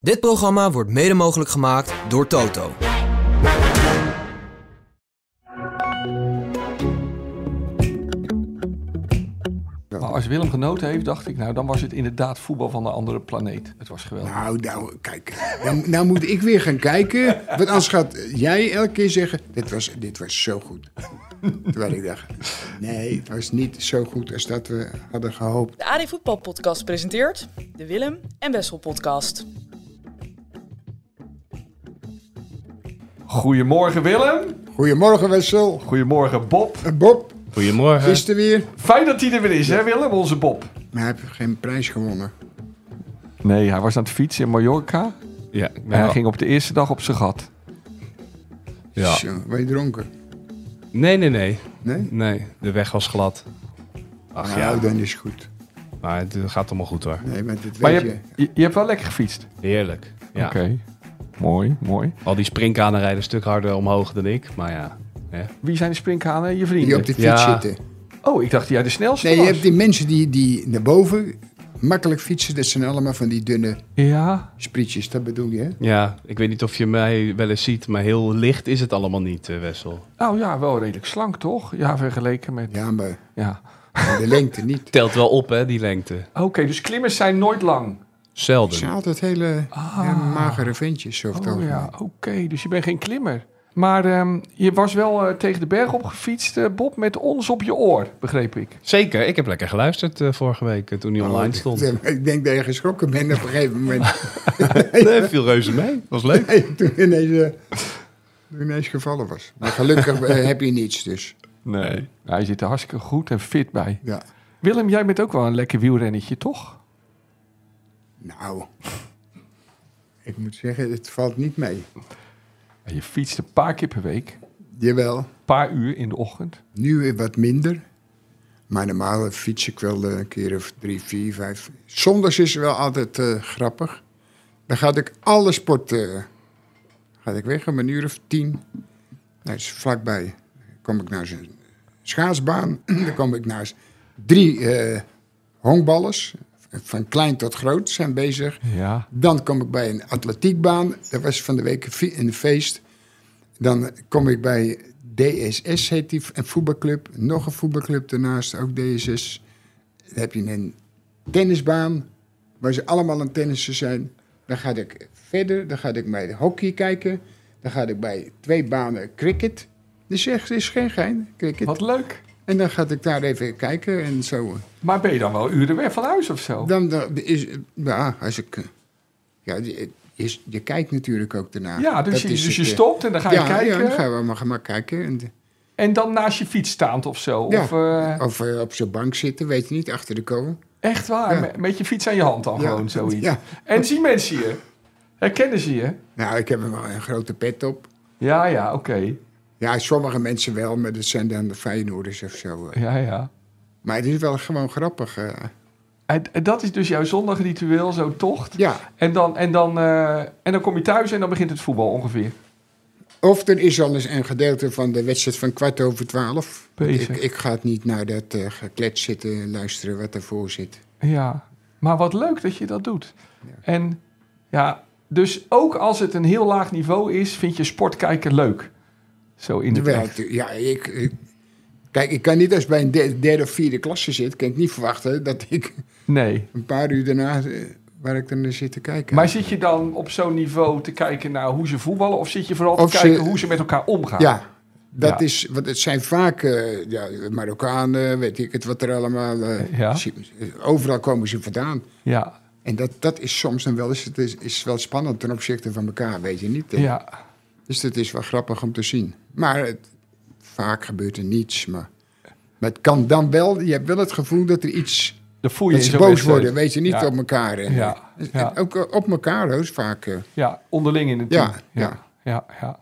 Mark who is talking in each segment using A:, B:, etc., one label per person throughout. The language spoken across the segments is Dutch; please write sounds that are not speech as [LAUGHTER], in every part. A: Dit programma wordt mede mogelijk gemaakt door Toto.
B: Maar als Willem genoten heeft, dacht ik, nou dan was het inderdaad voetbal van een andere planeet. Het was geweldig.
C: Nou, nou, kijk. Nou, nou moet ik weer gaan kijken. Want anders gaat jij elke keer zeggen: dit was, dit was zo goed. Terwijl ik dacht: nee, het was niet zo goed als dat we hadden gehoopt.
D: De AD Voetbal Podcast presenteert de Willem en Wessel Podcast.
B: Goedemorgen Willem.
C: Goedemorgen, Wessel.
B: Goedemorgen Bob.
C: Eh, Bob,
E: Goedemorgen.
C: gisteren weer.
B: Fijn dat hij er weer is, hè Willem, onze Bob.
C: Maar hij heeft geen prijs gewonnen.
B: Nee, hij was aan het fietsen in Mallorca.
E: Ja, ik
B: En
E: ben
B: hij
E: al-
B: ging op de eerste dag op zijn gat.
E: ja.
C: Zo, ben je dronken?
E: Nee, nee, nee.
C: Nee?
E: Nee, de weg was glad. Ach
C: nou,
E: ja,
C: dan is het goed.
E: maar het eh, gaat allemaal goed hoor.
C: Nee, want dit
B: Maar
C: weet
B: je,
C: je.
B: hebt- je, je hebt wel lekker gefietst.
E: Heerlijk. Ja.
B: Oké. Mooi, mooi.
E: Al die springkanen rijden een stuk harder omhoog dan ik, maar ja. hè.
B: Wie zijn de springkanen? Je
C: Die
B: vrienden?
C: op de fiets
E: Ja.
C: zitten.
B: Oh, ik dacht die jij de snelste
C: Nee, je
B: was.
C: hebt die mensen die, die naar boven makkelijk fietsen. Dat zijn allemaal van die dunne
B: Ja.
C: sprietjes. Dat bedoel je, hè?
E: Ja, ik weet niet of je mij wel eens ziet, maar heel licht is het allemaal niet, eh, Wessel.
B: Nou ja, wel redelijk slank toch? Ja, vergeleken met...
C: Ja, maar
B: Ja.
C: de lengte niet.
E: Telt wel op, hè, die lengte.
B: Oké, dus klimmers zijn nooit lang.
C: Het
E: Zelden.
C: zijn altijd hele ja, magere ventjes. Of
B: Ah. Oh ja, oké. Dus je bent geen klimmer. Maar ehm, je was wel eh, tegen de berg op gefietst, eh, Bob, met ons op je oor, begreep ik.
E: Zeker, ik heb lekker geluisterd eh, vorige week eh, toen
C: Oh,
E: hij online stond.
C: Ik denk dat je geschrokken bent op een gegeven
E: [LAUGHS]
C: moment.
E: Nee, viel reuze mee. Was leuk.
C: Nee, toen je ineens, eh, toen je ineens gevallen was. Maar gelukkig eh, heb je niets dus.
E: Nee.
B: Nou, je zit er hartstikke goed en fit bij.
C: Ja.
B: Willem, jij bent ook wel een lekker wielrennetje, toch?
C: Nou, ik moet zeggen, het valt niet mee.
B: En Je fietst een paar keer per week,
C: Jawel,
B: een paar uur in de ochtend.
C: nu weer wat minder. Maar normaal fiets ik wel eh, een keer of drie, vier, vijf. Zondags is wel altijd eh, grappig. Dan ga ik alle sporten. ga ik weg om een uur of tien. Dat is vlakbij. Dan kom ik naar zijn schaatsbaan. [CLEARS THROAT] Dan kom ik naar drie eh honkballers. Van klein tot groot zijn bezig.
B: Ja.
C: Dan kom ik bij een atletiekbaan. Dat was van de week een fi- een feest. Dan kom ik bij DSS, heet die, een voetbalclub. Nog een voetbalclub daarnaast, ook DSS. Dan heb je een tennisbaan, waar ze allemaal aan tennissen zijn. Dan ga ik verder, dan ga ik bij de hockey kijken. Dan ga ik bij twee banen cricket. Dus echt, is geen gein, cricket.
B: Wat leuk.
C: En dan ga ik daar even kijken en zo.
B: Maar ben je dan wel uren weg van huis of zo?
C: Dan, dan is, ja, als ik, eh, ja, je, je- je kijkt natuurlijk ook daarna.
B: Ja, dus,
C: Dat
B: je,
C: is
B: dus je
C: het, eh,
B: stopt en dan ga je
C: ja,
B: kijken.
C: Ja, dan gaan we maar, maar kijken. En, eh,
B: En dan naast je fiets staand of zo.
C: Ja.
B: Of, eh,
C: of eh, op zijn bank zitten, weet je niet, achter de kolen.
B: echt waar,
C: Ja.
B: met, met je fiets aan je hand dan
C: Ja.
B: Oh, gewoon zoiets.
C: Ja.
B: En zien mensen je? Herkennen ze je?
C: Nou, ik heb wel een grote pet op.
B: Ja, ja, oké.
C: Ja, sommige mensen wel, maar dat zijn dan de Feyenoorders of zo. eh.
B: Ja, ja.
C: Maar het is wel gewoon grappig. eh.
B: En, en dat is dus jouw zondagritueel, zo'n tocht.
C: Ja,
B: En, dan, en, dan, eh, en dan kom je thuis en dan begint het voetbal ongeveer.
C: of er is al eens een gedeelte van de wedstrijd van kwart over twaalf.
B: Bezig.
C: Ik, ik ga het niet naar dat eh geklets zitten en luisteren wat ervoor zit.
B: Ja. Maar wat leuk dat je dat doet. En ja, dus ook als het een heel laag niveau is, vind je sport kijken leuk. Zo in de
C: Terwijl,
B: tijd.
C: het- ja, ik, ik- Kijk, ik kan niet als ik bij een de- derde of vierde klasse zit, kan ik niet verwachten dat ik
B: Nee.
C: een paar uur daarna, eh, waar ik dan naar zit te kijken.
B: Maar zit je dan op zo'n niveau te kijken naar hoe ze voetballen? Of zit je vooral te
C: Of ze-
B: kijken hoe ze met elkaar omgaan?
C: Ja, dat
B: Ja.
C: is, want het zijn vaak eh, ja, Marokkanen, weet ik het, wat er allemaal. eh,
B: Ja.
C: zie- Overal komen ze vandaan.
B: Ja.
C: En dat, dat is soms dan wel eens, het is, is wel spannend ten opzichte van elkaar, weet je niet. hè?
B: ja.
C: Dus dat is wel grappig om te zien. Maar het, vaak gebeurt er niets. Maar, maar het kan dan wel, je hebt wel het gevoel dat er iets,
B: Dan voel je
C: dat
B: in
C: ze
B: zo'n
C: boos
B: wedstrijd.
C: worden, weet je niet,
B: Ja.
C: op elkaar. En,
B: Ja,
C: en
B: ja.
C: ook eh, op elkaar, hoor, is vaak. eh,
B: Ja, onderling in het
C: Ja,
B: team. ja, ja. ja.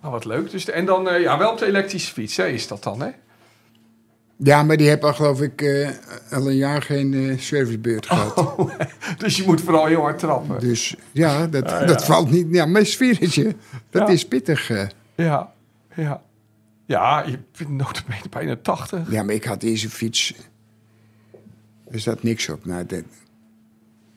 B: Nou, wat leuk. Dus, en dan eh, ja, wel op de elektrische fiets, hè, is dat dan, hè? [LAUGHS]
C: Ja, maar die heb al geloof ik eh, al een jaar geen eh,
B: Oh.
C: servicebeurt gehad.
B: Dus je moet vooral heel hard trappen.
C: Dus ja, dat, dat valt niet. Ja, mijn sfeertje, dat
B: Ah, Ja.
C: is pittig. eh.
B: Ja, ja. Ja, je bent notabene bijna 80.
C: Ja, maar ik had deze fiets. Er zat niks op. Nou, dat,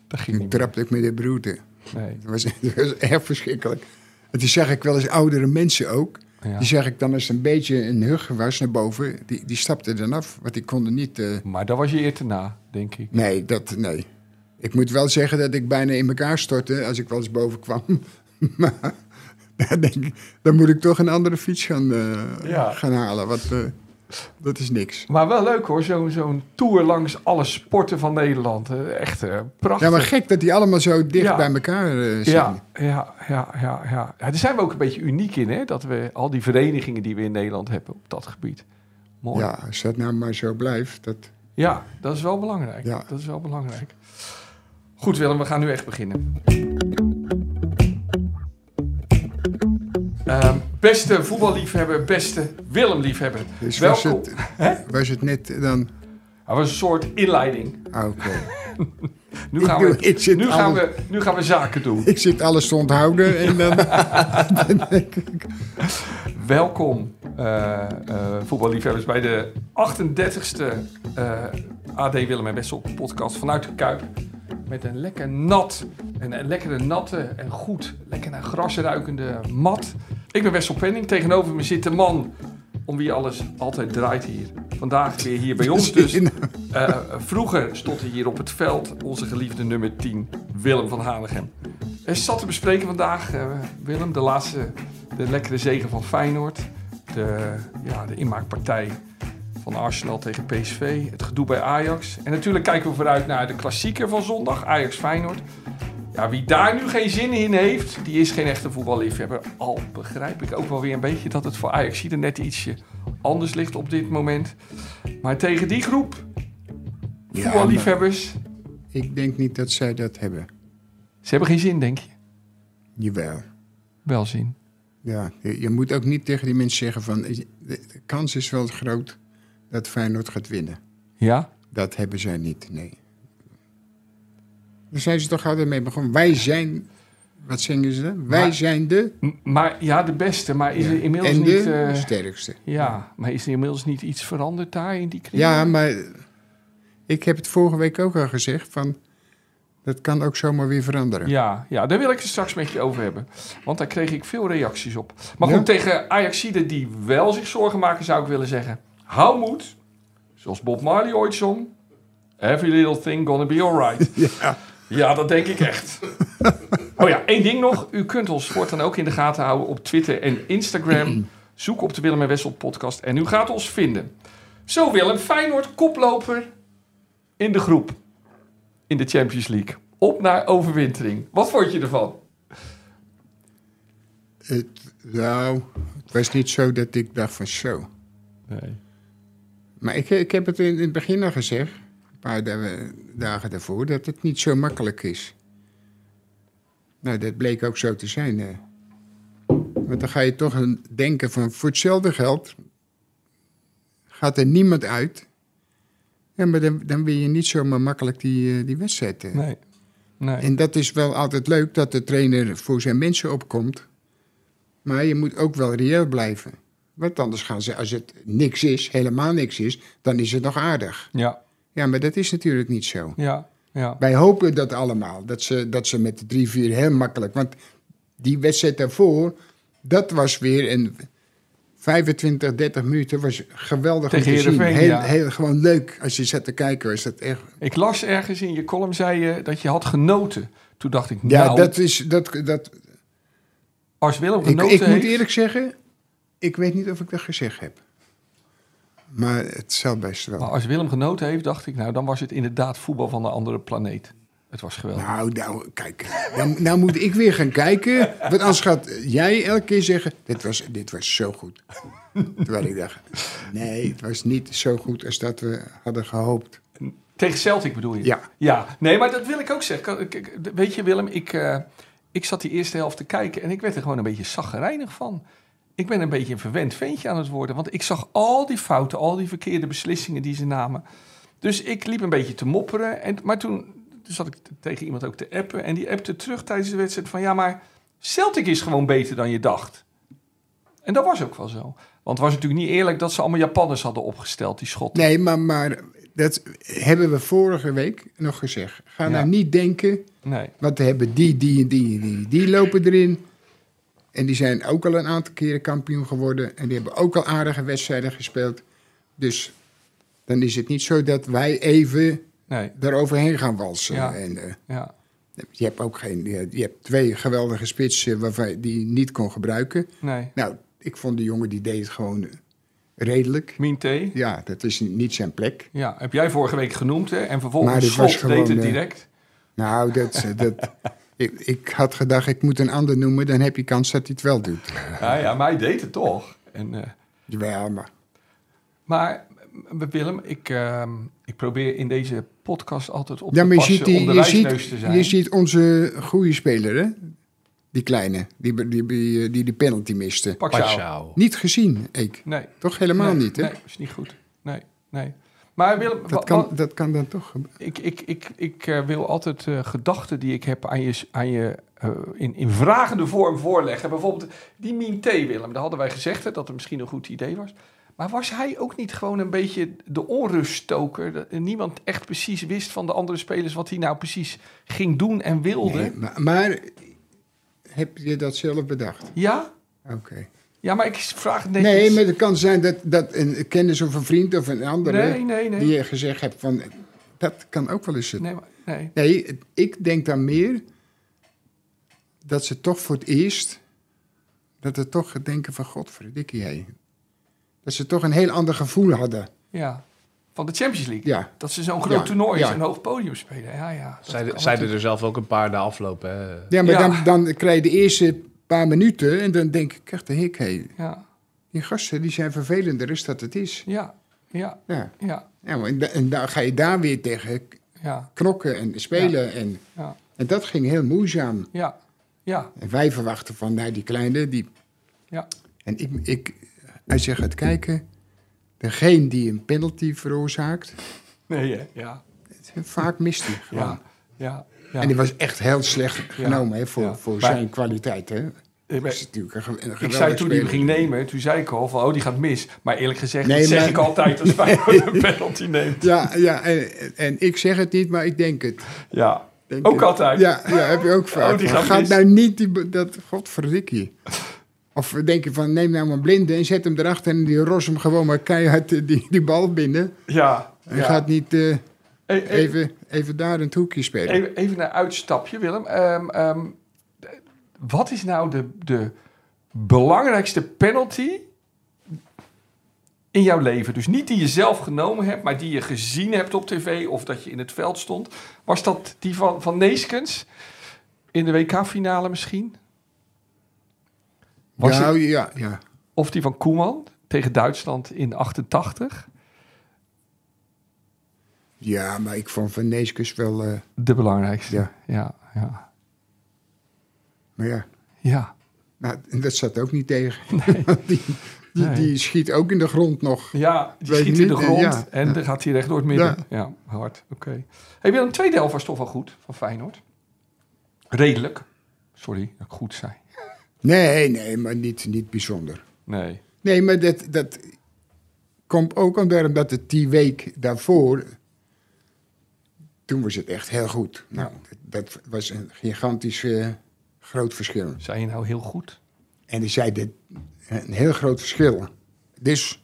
B: Dat ging
C: toen
B: niet meer.
C: trapte ik met de broerte.
B: Nee.
C: Dat was, [LAUGHS] dat was erg verschrikkelijk. En toen zag ik wel eens oudere mensen ook.
B: Ja.
C: Die zag ik dan als een beetje een hugger was naar boven. Die, die stapte dan af, want die konden niet... eh,
B: Maar dat was je eer te na, denk ik.
C: nee, dat... Nee. Ik moet wel zeggen dat ik bijna in elkaar stortte als ik wel eens boven kwam. [LAUGHS] maar dan denk ik, dan moet ik toch een andere fiets gaan, eh,
B: Ja.
C: gaan halen. Want eh, dat is niks.
B: Maar wel leuk hoor, zo'n zo'n tour langs alle sporten van Nederland. Eh, Echt eh, prachtig.
C: Ja, maar gek dat die allemaal zo dicht
B: Ja.
C: bij elkaar eh, zitten.
B: Ja, ja, ja, ja, ja. ja. Daar zijn we ook een beetje uniek in, hè? Dat we al die verenigingen die we in Nederland hebben op dat gebied. Mooi. Ja,
C: Ja, als dat nou maar zo blijft. Dat,
B: dat is wel belangrijk.
C: Ja.
B: Dat is wel belangrijk. Goed, Willem, we gaan nu echt beginnen. Ehm, beste voetballiefhebber, beste Willem-liefhebber.
C: dus was
B: Welkom.
C: het, was het net dan...
B: Dat was een soort inleiding.
C: Ah, Oké.
B: Nu
C: Ik
B: gaan,
C: doe-
B: we,
C: ik zit
B: nu, gaan
C: alles-
B: we, nu gaan we zaken doen.
C: Ik zit alles te onthouden en dan...
B: Welkom, eh eh voetballiefhebbers, bij de 38e eh, AD Willem en Wessel podcast vanuit de Kuip. Met een lekker nat, en een lekkere natte en goed, lekker naar gras ruikende mat. Ik ben Wessel Penning, tegenover me zit de man om wie alles altijd draait hier. Vandaag weer hier bij
C: [LAUGHS]
B: ons dus.
C: nou.
B: Eh, vroeger stond hij hier op het veld, onze geliefde nummer 10, Willem van Hanegem. Er Eh, zat te bespreken vandaag, eh, Willem, de laatste, de lekkere zegen van Feyenoord. De, ja, de inmaakpartij van Arsenal tegen PSV, het gedoe bij Ajax. En natuurlijk kijken we vooruit naar de klassieker van zondag, Ajax-Feyenoord. Ja, wie daar nu geen zin in heeft, die is geen echte voetballiefhebber. Al begrijp ik ook wel weer een beetje dat het voor Ajax er net ietsje anders ligt op dit moment. Maar tegen die groep
C: Ja,
B: voetballiefhebbers,
C: maar Ik denk niet dat zij dat hebben.
B: ze hebben geen zin, denk je?
C: Jawel.
B: Wel zin.
C: Ja, je, je moet ook niet tegen die mensen zeggen van... eh, De, de kans is wel groot dat Feyenoord gaat winnen.
B: Ja?
C: Dat hebben zij niet, nee. Daar zijn ze toch altijd mee begonnen. Wij zijn... Wat zingen ze dan? Wij
B: Maar-
C: zijn de...
B: M- maar ja, de beste. Maar is
C: Ja.
B: er inmiddels
C: en de
B: niet... eh,
C: sterkste.
B: ja, maar is er inmiddels niet iets veranderd daar in die kring?
C: Ja, maar ik heb het vorige week ook al gezegd van... Dat kan ook zomaar weer veranderen.
B: Ja, ja, daar wil ik het straks met je over hebben. Want daar kreeg ik veel reacties op. Maar
C: Ja?
B: goed, tegen Ajaxiden die wel zich zorgen maken, zou ik willen zeggen... Hou moed, zoals Bob Marley ooit zong. Every little thing gonna be alright. Ja. ja, dat denk ik echt. Oh ja, één ding nog. U kunt ons voortaan ook in de gaten houden op Twitter en Instagram. Zoek op de Willem en Wessel podcast en u gaat ons vinden. Zo Willem, Feyenoord koploper in de groep in de Champions League. Op naar overwintering. Wat vond je ervan?
C: Het, nou, het was niet zo dat ik dacht van zo.
B: Nee.
C: Maar ik, ik heb het in, in het begin al gezegd, een paar da- dagen daarvoor, dat het niet zo makkelijk is. Nou, dat bleek ook zo te zijn. eh. Want dan ga je toch een, denken van voor hetzelfde geld gaat er niemand uit. Ja, maar dan, dan win je niet zomaar makkelijk die, eh, die wedstrijd. eh.
B: Nee. Nee.
C: En dat is wel altijd leuk dat de trainer voor zijn mensen opkomt. Maar je moet ook wel reëel blijven. Want anders gaan ze, als het niks is, helemaal niks is, dan is het nog aardig.
B: Ja,
C: Ja, maar dat is natuurlijk niet zo.
B: ja, ja.
C: Wij hopen dat allemaal, dat ze, dat ze met de 3-4 heel makkelijk. Want die wedstrijd daarvoor, dat was weer een 25, 30 minuten, was geweldig
B: Tegen
C: om te zien.
B: Heerenveen,
C: Heel,
B: ja.
C: heel, gewoon leuk. Als je zat te kijken, was dat echt
B: Ik las ergens in je column, zei je, dat je had genoten. Toen dacht ik,
C: Ja,
B: nou,
C: dat is. Dat, dat,
B: als Willem
C: ik
B: genoten
C: ik moet
B: heeft...
C: eerlijk zeggen, ik weet niet of ik dat gezegd heb. Maar het zal best wel.
B: Maar als Willem genoten heeft, dacht ik, nou, dan was het inderdaad voetbal van een andere planeet. Het was geweldig.
C: Nou, nou, kijk. Nou, nou moet ik weer gaan kijken. Want anders gaat jij elke keer zeggen: Dit was, dit was zo goed. Terwijl ik dacht: Nee, het was niet zo goed als dat we hadden gehoopt.
B: Tegen Celtic bedoel je?
C: Ja.
B: Ja, nee, maar dat wil ik ook zeggen. Kijk, kijk, Weet je, Willem, ik, eh, ik zat die eerste helft te kijken en ik werd er gewoon een beetje zaggerijnig van. Ik ben een beetje een verwend ventje aan het worden, want ik zag al die fouten, al die verkeerde beslissingen die ze namen. Dus ik liep een beetje te mopperen. En, maar toen zat ik t- tegen iemand ook te appen en die appte terug tijdens de wedstrijd van ja, maar Celtic is gewoon beter dan je dacht. En dat was ook wel zo. Want het was natuurlijk niet eerlijk dat ze allemaal Japanners hadden opgesteld, die schotten.
C: Nee, maar, maar dat hebben we vorige week nog gezegd. Ga
B: Ja.
C: nou niet denken
B: Nee.
C: Want we hebben die, die en die en die. Die lopen erin. En die zijn ook al een aantal keren kampioen geworden. En die hebben ook al aardige wedstrijden gespeeld. Dus dan is het niet zo dat wij even
B: Nee.
C: daaroverheen gaan walsen.
B: Ja.
C: En, eh,
B: Ja.
C: je hebt ook geen. Je, je hebt twee geweldige spitsen waarvan je die niet kon gebruiken.
B: Nee.
C: Nou, ik vond de jongen die deed het gewoon eh, redelijk.
B: Min thee.
C: Ja, dat is niet zijn plek.
B: Ja, heb jij vorige week genoemd hè? En
C: Maar
B: vervolgens
C: dit was
B: Slot deed
C: gewoon,
B: het
C: eh,
B: direct.
C: Nou, dat, eh, dat, ik, ik had gedacht, ik moet een ander noemen, dan heb je kans dat hij het wel doet.
B: Ja, ja, maar hij deed het toch. En, eh,
C: Jawel, maar
B: maar eh, Willem, ik, ehm, ik probeer in deze podcast altijd op
C: Ja,
B: te
C: maar je
B: passen
C: ziet, die-
B: om de
C: je,
B: wijsneus te
C: ziet,
B: zijn.
C: je ziet onze goede speler, hè? Die kleine, die be- die, die, die de penalty miste.
B: Pak jou.
E: Pashao.
C: Niet gezien, ik.
B: Nee.
C: Toch helemaal
B: nee,
C: niet, hè?
B: Nee, is niet goed. Nee, nee. Maar Willem, wa-
C: dat, kan,
B: wa-
C: dat kan dan toch... gebe-
B: ik, ik, ik, ik eh, wil altijd eh, gedachten die ik heb aan je, s- aan je eh, in, in vragende vorm voorleggen. Bijvoorbeeld die Mien T. Willem, daar hadden wij gezegd hè, dat het misschien een goed idee was. Maar was hij ook niet gewoon een beetje de onruststoker? Dat eh, niemand echt precies wist van de andere spelers wat hij nou precies ging doen en wilde.
C: Nee, maar, maar heb je dat zelf bedacht?
B: Ja?
C: Oké.
B: ja, maar ik vraag het netjes.
C: Nee, maar het kan zijn dat, dat een kennis of een vriend of een andere...
B: Nee, nee, nee.
C: die eh, je gezegd hebt van... Dat kan ook wel eens het
B: Nee, maar- nee.
C: Nee, ik denk dan meer dat ze toch voor het eerst... dat ze toch denken van godverdikkie hé. Dat ze toch een heel ander gevoel hadden.
B: Ja. Van de Champions League.
C: Ja,
B: Dat ze zo'n groot
C: Ja,
B: toernooi,
C: ja.
B: zo'n hoog podium spelen. Ja, ja. dat
E: Zeiden
B: kan
E: zeiden er zelf ook een paar na afloop, hè?
C: ja maar
B: Ja.
C: Dan, dan krijg je de eerste paar minuten... en dan denk ik echt, hé, hé,
B: natuurlijk. Ja,
C: die gasten die zijn vervelender is dat het is.
B: ja, ja,
C: Ja,
B: ja,
C: ja maar en, da- en dan ga je daar weer tegen
B: ja,
C: knokken en spelen. En,
B: ja,
C: en dat ging heel moeizaam.
B: ja, ja,
C: En wij verwachten van, nou, die kleine, die
B: ja.
C: En ik, ik, als je gaat kijken, degene die een penalty veroorzaakt,
B: Nee, hè? ja,
C: vaak mist hij gewoon.
B: ja, ja. ja.
C: En die was echt heel slecht genomen hè, voor,
B: Ja.
C: voor
B: Maar-
C: zijn kwaliteit. Hè.
B: Ik ben-
C: Dat is natuurlijk een, ge- een
B: ik
C: geweldig
B: zei toen die hem
C: speler.
B: ging nemen, toen zei ik al van, oh, die gaat mis. Maar eerlijk gezegd,
C: Nee,
B: dat zeg
C: maar-
B: ik altijd als
C: [LAUGHS]
B: Feyenoord een penalty neemt.
C: Ja, ja en, en ik zeg het niet, maar ik denk het.
B: Ja,
C: Denk
B: ook
C: het.
B: altijd.
C: Ja, ja, heb je ook vaak.
B: Oh, die
C: Van,
B: gaat mis.
C: nou niet die, be- dat, godverdikkie. Of denk je van, neem nou maar blinde en zet hem erachter... en die ros hem gewoon maar keihard eh, die, die bal binnen.
B: ja.
C: En
B: ja.
C: gaat niet eh,
B: E- e-
C: even, even daar een hoekje spelen.
B: Even, even een uitstapje, Willem. Ehm, ehm, de- wat is nou de, de belangrijkste penalty in jouw leven? Dus niet die je zelf genomen hebt, maar die je gezien hebt op tv of dat je in het veld stond. Was dat die van, van Neeskens in de WK-finale misschien? Was
C: nou, ja, ja.
B: Of die van Koeman tegen Duitsland in 88?
C: Ja, maar ik vond Van Neeskens wel... eh,
B: De belangrijkste.
C: Ja.
B: ja, ja.
C: maar ja,
B: ja.
C: nou, en dat zat ook niet
B: [LAUGHS]
C: tegen. [LAUGHS] die, die,
B: Nee.
C: die schiet ook in de grond nog.
B: Ja, die
C: Weet
B: schiet
C: je
B: in de
C: niet, eh,
B: grond
C: ja.
B: en
C: Ja.
B: dan gaat hij recht door het midden. Ja, hard. Oké. Hey Willem, tweede helft was toch wel goed van Feyenoord? Redelijk. Sorry dat ik goed zei.
C: Nee, nee, maar niet, niet bijzonder.
B: Nee.
C: Nee, maar dat, dat komt ook omdat het die week daarvoor... Toen was het echt heel goed. Nou, dat, dat was een gigantisch eh, groot verschil.
B: Zei je nou heel goed?
C: En die zei dit, een heel groot verschil. Dus,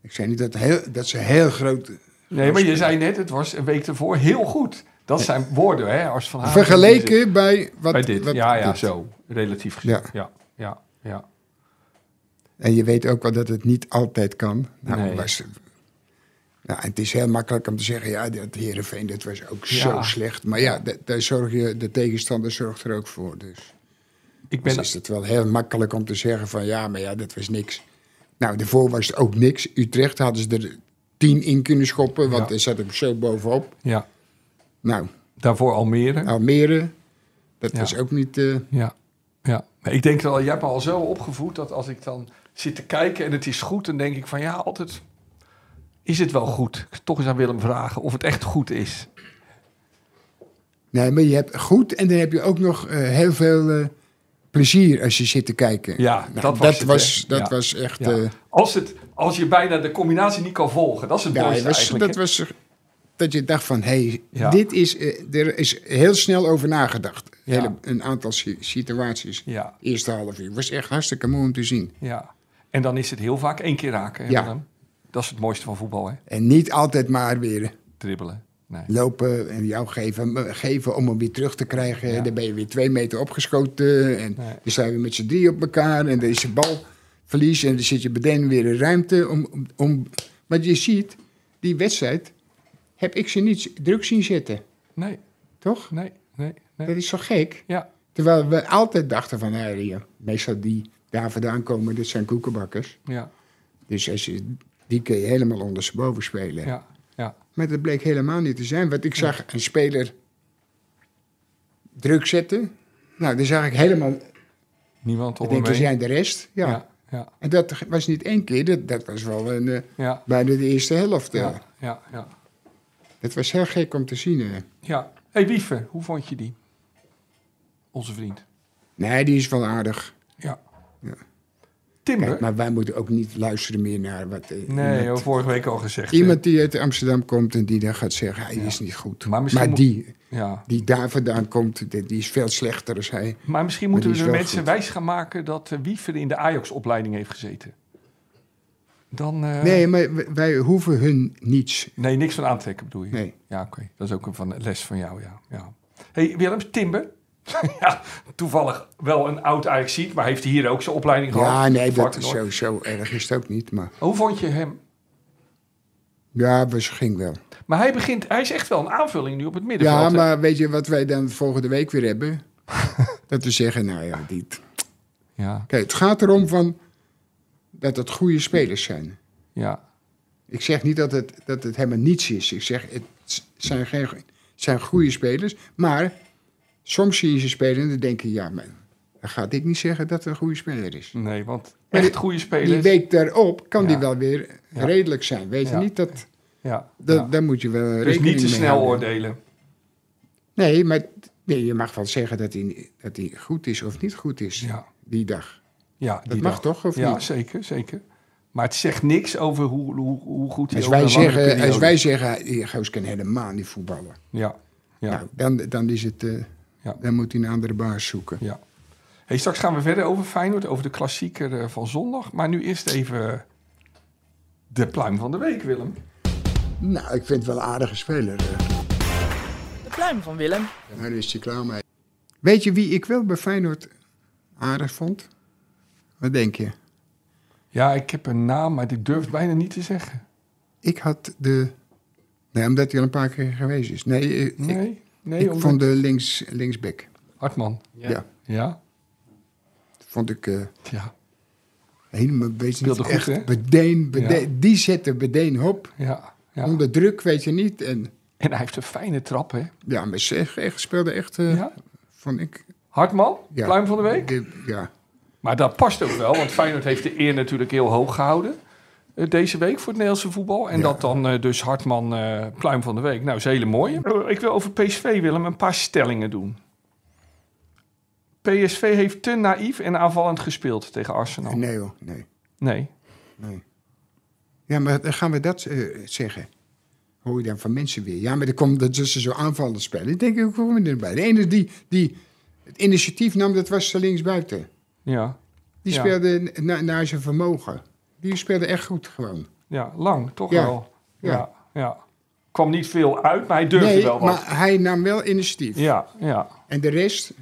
C: ik zei niet dat, heel, dat ze heel groot...
B: Nee, maar je zei net, het was een week ervoor heel goed. Dat zijn woorden, hè? Als van Haven-
C: Vergeleken bij wat...
B: bij dit.
C: wat
B: ja, ja,
C: dit.
B: zo. Relatief gezien. Ja,
C: Ja.
B: ja, ja. ja.
C: En je weet ook wel dat het niet altijd kan. Nou,
B: Nee.
C: was, nou, het is heel makkelijk om te zeggen, ja, dat Heerenveen, dat was ook zo
B: Ja.
C: slecht. Maar ja, da- daar zorg je, de tegenstander zorgt er ook voor. Dus,
B: Ik
C: dus
B: ben,
C: is het wel heel makkelijk om te zeggen van, ja, maar ja, dat was niks. Nou, daarvoor was het ook niks. Utrecht hadden ze er tien in kunnen schoppen, want
B: Ja.
C: er zat hem zo bovenop.
B: ja,
C: Nou,
B: daarvoor Almere.
C: Almere, dat
B: Ja.
C: was ook niet... eh,
B: Ja, ja. Maar ik denk wel, jij hebt me al zo opgevoed dat als ik dan zit te kijken en het is goed, dan denk ik van ja, altijd is het wel goed. Ik zou toch eens aan Willem vragen of het echt goed is.
C: nee, maar je hebt goed en dan heb je ook nog eh, heel veel eh, plezier als je zit te kijken.
B: Ja,
C: Nou,
B: dat was het, hè?
C: dat
B: Ja.
C: was echt...
B: Ja.
C: eh,
B: Als, het, als je bijna de combinatie niet kan volgen, dat is het
C: Ja,
B: mooiste
C: hij was,
B: eigenlijk.
C: dat was dat je dacht van, hé, hey,
B: Ja.
C: dit is, eh, er is heel snel over nagedacht.
B: Ja.
C: Hele, een aantal si- situaties.
B: Ja,
C: Eerste half uur. Was echt hartstikke mooi om te zien.
B: ja. En dan is het heel vaak één keer raken. hè,
C: Ja.
B: Willem? Dat is het mooiste van voetbal, hè?
C: En niet altijd maar weer
B: Dribbelen. Nee.
C: lopen en jou geven, geven om hem weer terug te krijgen.
B: Ja.
C: Dan ben je weer twee meter opgeschoten. En
B: Nee.
C: dan zijn we met z'n drie op elkaar. En dan is de bal verlies. En dan zit je meteen weer in ruimte. Om, om, om, want je ziet, die wedstrijd heb ik ze niet druk zien zitten.
B: Nee,
C: Toch?
B: nee, nee, nee.
C: Dat is zo gek.
B: Ja,
C: Terwijl we altijd dachten van, hé, hier, meestal die daar vandaan komen, dat zijn koekenbakkers.
B: ja,
C: Dus als je, die kun je helemaal ondersteboven spelen.
B: ja, ja.
C: Maar dat bleek helemaal niet te zijn. Want ik zag een speler druk zetten. Nou, dan zag ik helemaal...
B: Niemand om
C: Ik
B: hem
C: denk, er
B: heen.
C: zijn de rest. Ja.
B: ja, ja,
C: En dat was niet één keer. Dat, dat was wel een, eh,
B: ja,
C: bijna de eerste helft. eh.
B: ja, ja, ja.
C: Dat was heel gek om te zien. eh.
B: ja. hey, Wieve, hoe vond je die? Onze vriend.
C: Nee, die is wel aardig.
B: Ja.
C: Ja.
B: Timber?
C: Kijk, maar wij moeten ook niet luisteren meer naar wat... eh,
B: nee,
C: iemand-
B: hebben we vorige week al gezegd.
C: Iemand die uit Amsterdam komt en die dan gaat zeggen, hij
B: Ja.
C: is niet goed.
B: Maar
C: Maar,
B: misschien moet-
C: die,
B: Ja.
C: die daar vandaan komt, die, die is veel slechter dan hij.
B: Maar misschien
C: Maar
B: moeten we
C: die is
B: de
C: wel
B: mensen
C: goed.
B: wijs gaan maken dat eh, Wiever in de Ajax-opleiding heeft gezeten. Dan... eh,
C: Nee, maar w- wij hoeven hun niets.
B: Nee, niks van aantrekken bedoel je?
C: Nee.
B: Ja, oké. Dat is ook een van, les van jou, ja. ja. hey, Willem, Timber. [LAUGHS] ja, toevallig wel een oud Ajax-ziet, maar heeft hij hier ook zijn opleiding
C: Ja,
B: gehad?
C: nee, dat is
B: Varkenoord.
C: zo, zo erg is het ook niet. Maar
B: Hoe vond je hem?
C: ja, we ging wel.
B: Maar hij begint, hij is echt wel een aanvulling nu op het middenveld.
C: Ja,
B: hè?
C: maar weet je wat wij dan volgende week weer
B: [LAUGHS]
C: hebben? dat we zeggen, nou ja, dit.
B: Ja,
C: Kijk, het gaat erom van dat het goede spelers zijn.
B: ja,
C: Ik zeg niet dat het, dat het helemaal niets is. Ik zeg, het s- zijn, geen, het zijn goede spelers. Maar soms zie je ze spelen en dan denk je, ja, maar dan gaat ik niet zeggen dat het een goede speler is.
B: nee, want
C: Maar
B: echt
C: die-
B: goede
C: Die
B: spelers.
C: week daarop kan die
B: Ja.
C: wel weer
B: Ja.
C: redelijk zijn. Weet je
B: Ja.
C: niet dat...
B: Ja,
C: dat
B: ja.
C: Daar moet je wel
B: Dus
C: rekening mee
B: niet te snel
C: houden.
B: oordelen.
C: Nee, maar t- nee, je mag wel zeggen dat hij, dat hij goed is of niet goed is
B: Ja,
C: die dag.
B: ja
C: Dat
B: die
C: mag
B: dag.
C: toch, of
B: Ja,
C: niet?
B: zeker, zeker. Maar het zegt niks over hoe, hoe, hoe goed hij
C: Als
B: over
C: wij,
B: een langere
C: zeggen, als
B: periode-
C: wij zeggen, die goos kan helemaal niet voetballen.
B: Ja, ja.
C: Nou, dan, dan, is het, eh,
B: Ja.
C: dan moet hij een andere baas zoeken.
B: Ja. Hey, straks gaan we verder over Feyenoord, over de klassieker eh, van zondag. Maar nu eerst even eh, de pluim van de week, Willem.
C: Nou, ik vind het wel een aardige speler. eh.
D: De pluim van Willem.
C: Nou, daar is hij klaar mee. Weet je wie ik wel bij Feyenoord aardig vond? Wat denk je?
B: Ja, ik heb een naam, maar ik durf het bijna niet te zeggen.
C: Ik had de... Nee, omdat hij al een paar keer geweest is. Nee, eh, ik,
B: Nee, nee,
C: ik
B: omdat-
C: vond de links, linksback.
B: Hartman.
C: Ja.
B: Ja,
C: vond ik... eh,
B: ja,
C: Helemaal bezig.
B: Speelde goed,
C: echt
B: hè?
C: Bedeen, bedeen. Die zette bedeen op.
B: ja. ja.
C: Onder druk, weet je niet. En
B: En hij heeft een fijne trap, hè?
C: ja, maar ze echt- echt, speelde echt, eh,
B: Ja.
C: vond ik.
B: Hartman,
C: Ja.
B: pluim van de week.
C: de- ja.
B: Maar dat past ook wel, want Feyenoord heeft de eer natuurlijk heel hoog gehouden. eh, Deze week voor het Nederlandse voetbal. En
C: Ja.
B: dat dan eh, dus Hartman eh, pluim van de week. Nou, is een hele mooie. Eh, Ik wil over PSV, Willem, een paar stellingen doen. PSV heeft te naïef en aanvallend gespeeld tegen Arsenal.
C: Nee hoor, nee,
B: Nee.
C: nee. Ja, maar dan gaan we dat eh, zeggen. Hoor je dan van mensen weer. Ja, maar dan komt dat ze zo aanvallen spelen. Ik denk, hoe komen we erbij? De ene die, die het initiatief nam, dat was de linksbuiten.
B: Ja.
C: Die
B: Ja.
C: speelde na- naar zijn vermogen. Die speelde echt goed gewoon.
B: ja, lang toch
C: Ja.
B: wel. Ja.
C: Ja.
B: ja, Kwam niet veel uit, maar hij durfde
C: nee,
B: wel wat.
C: maar hij nam wel initiatief.
B: Ja, ja.
C: En de rest,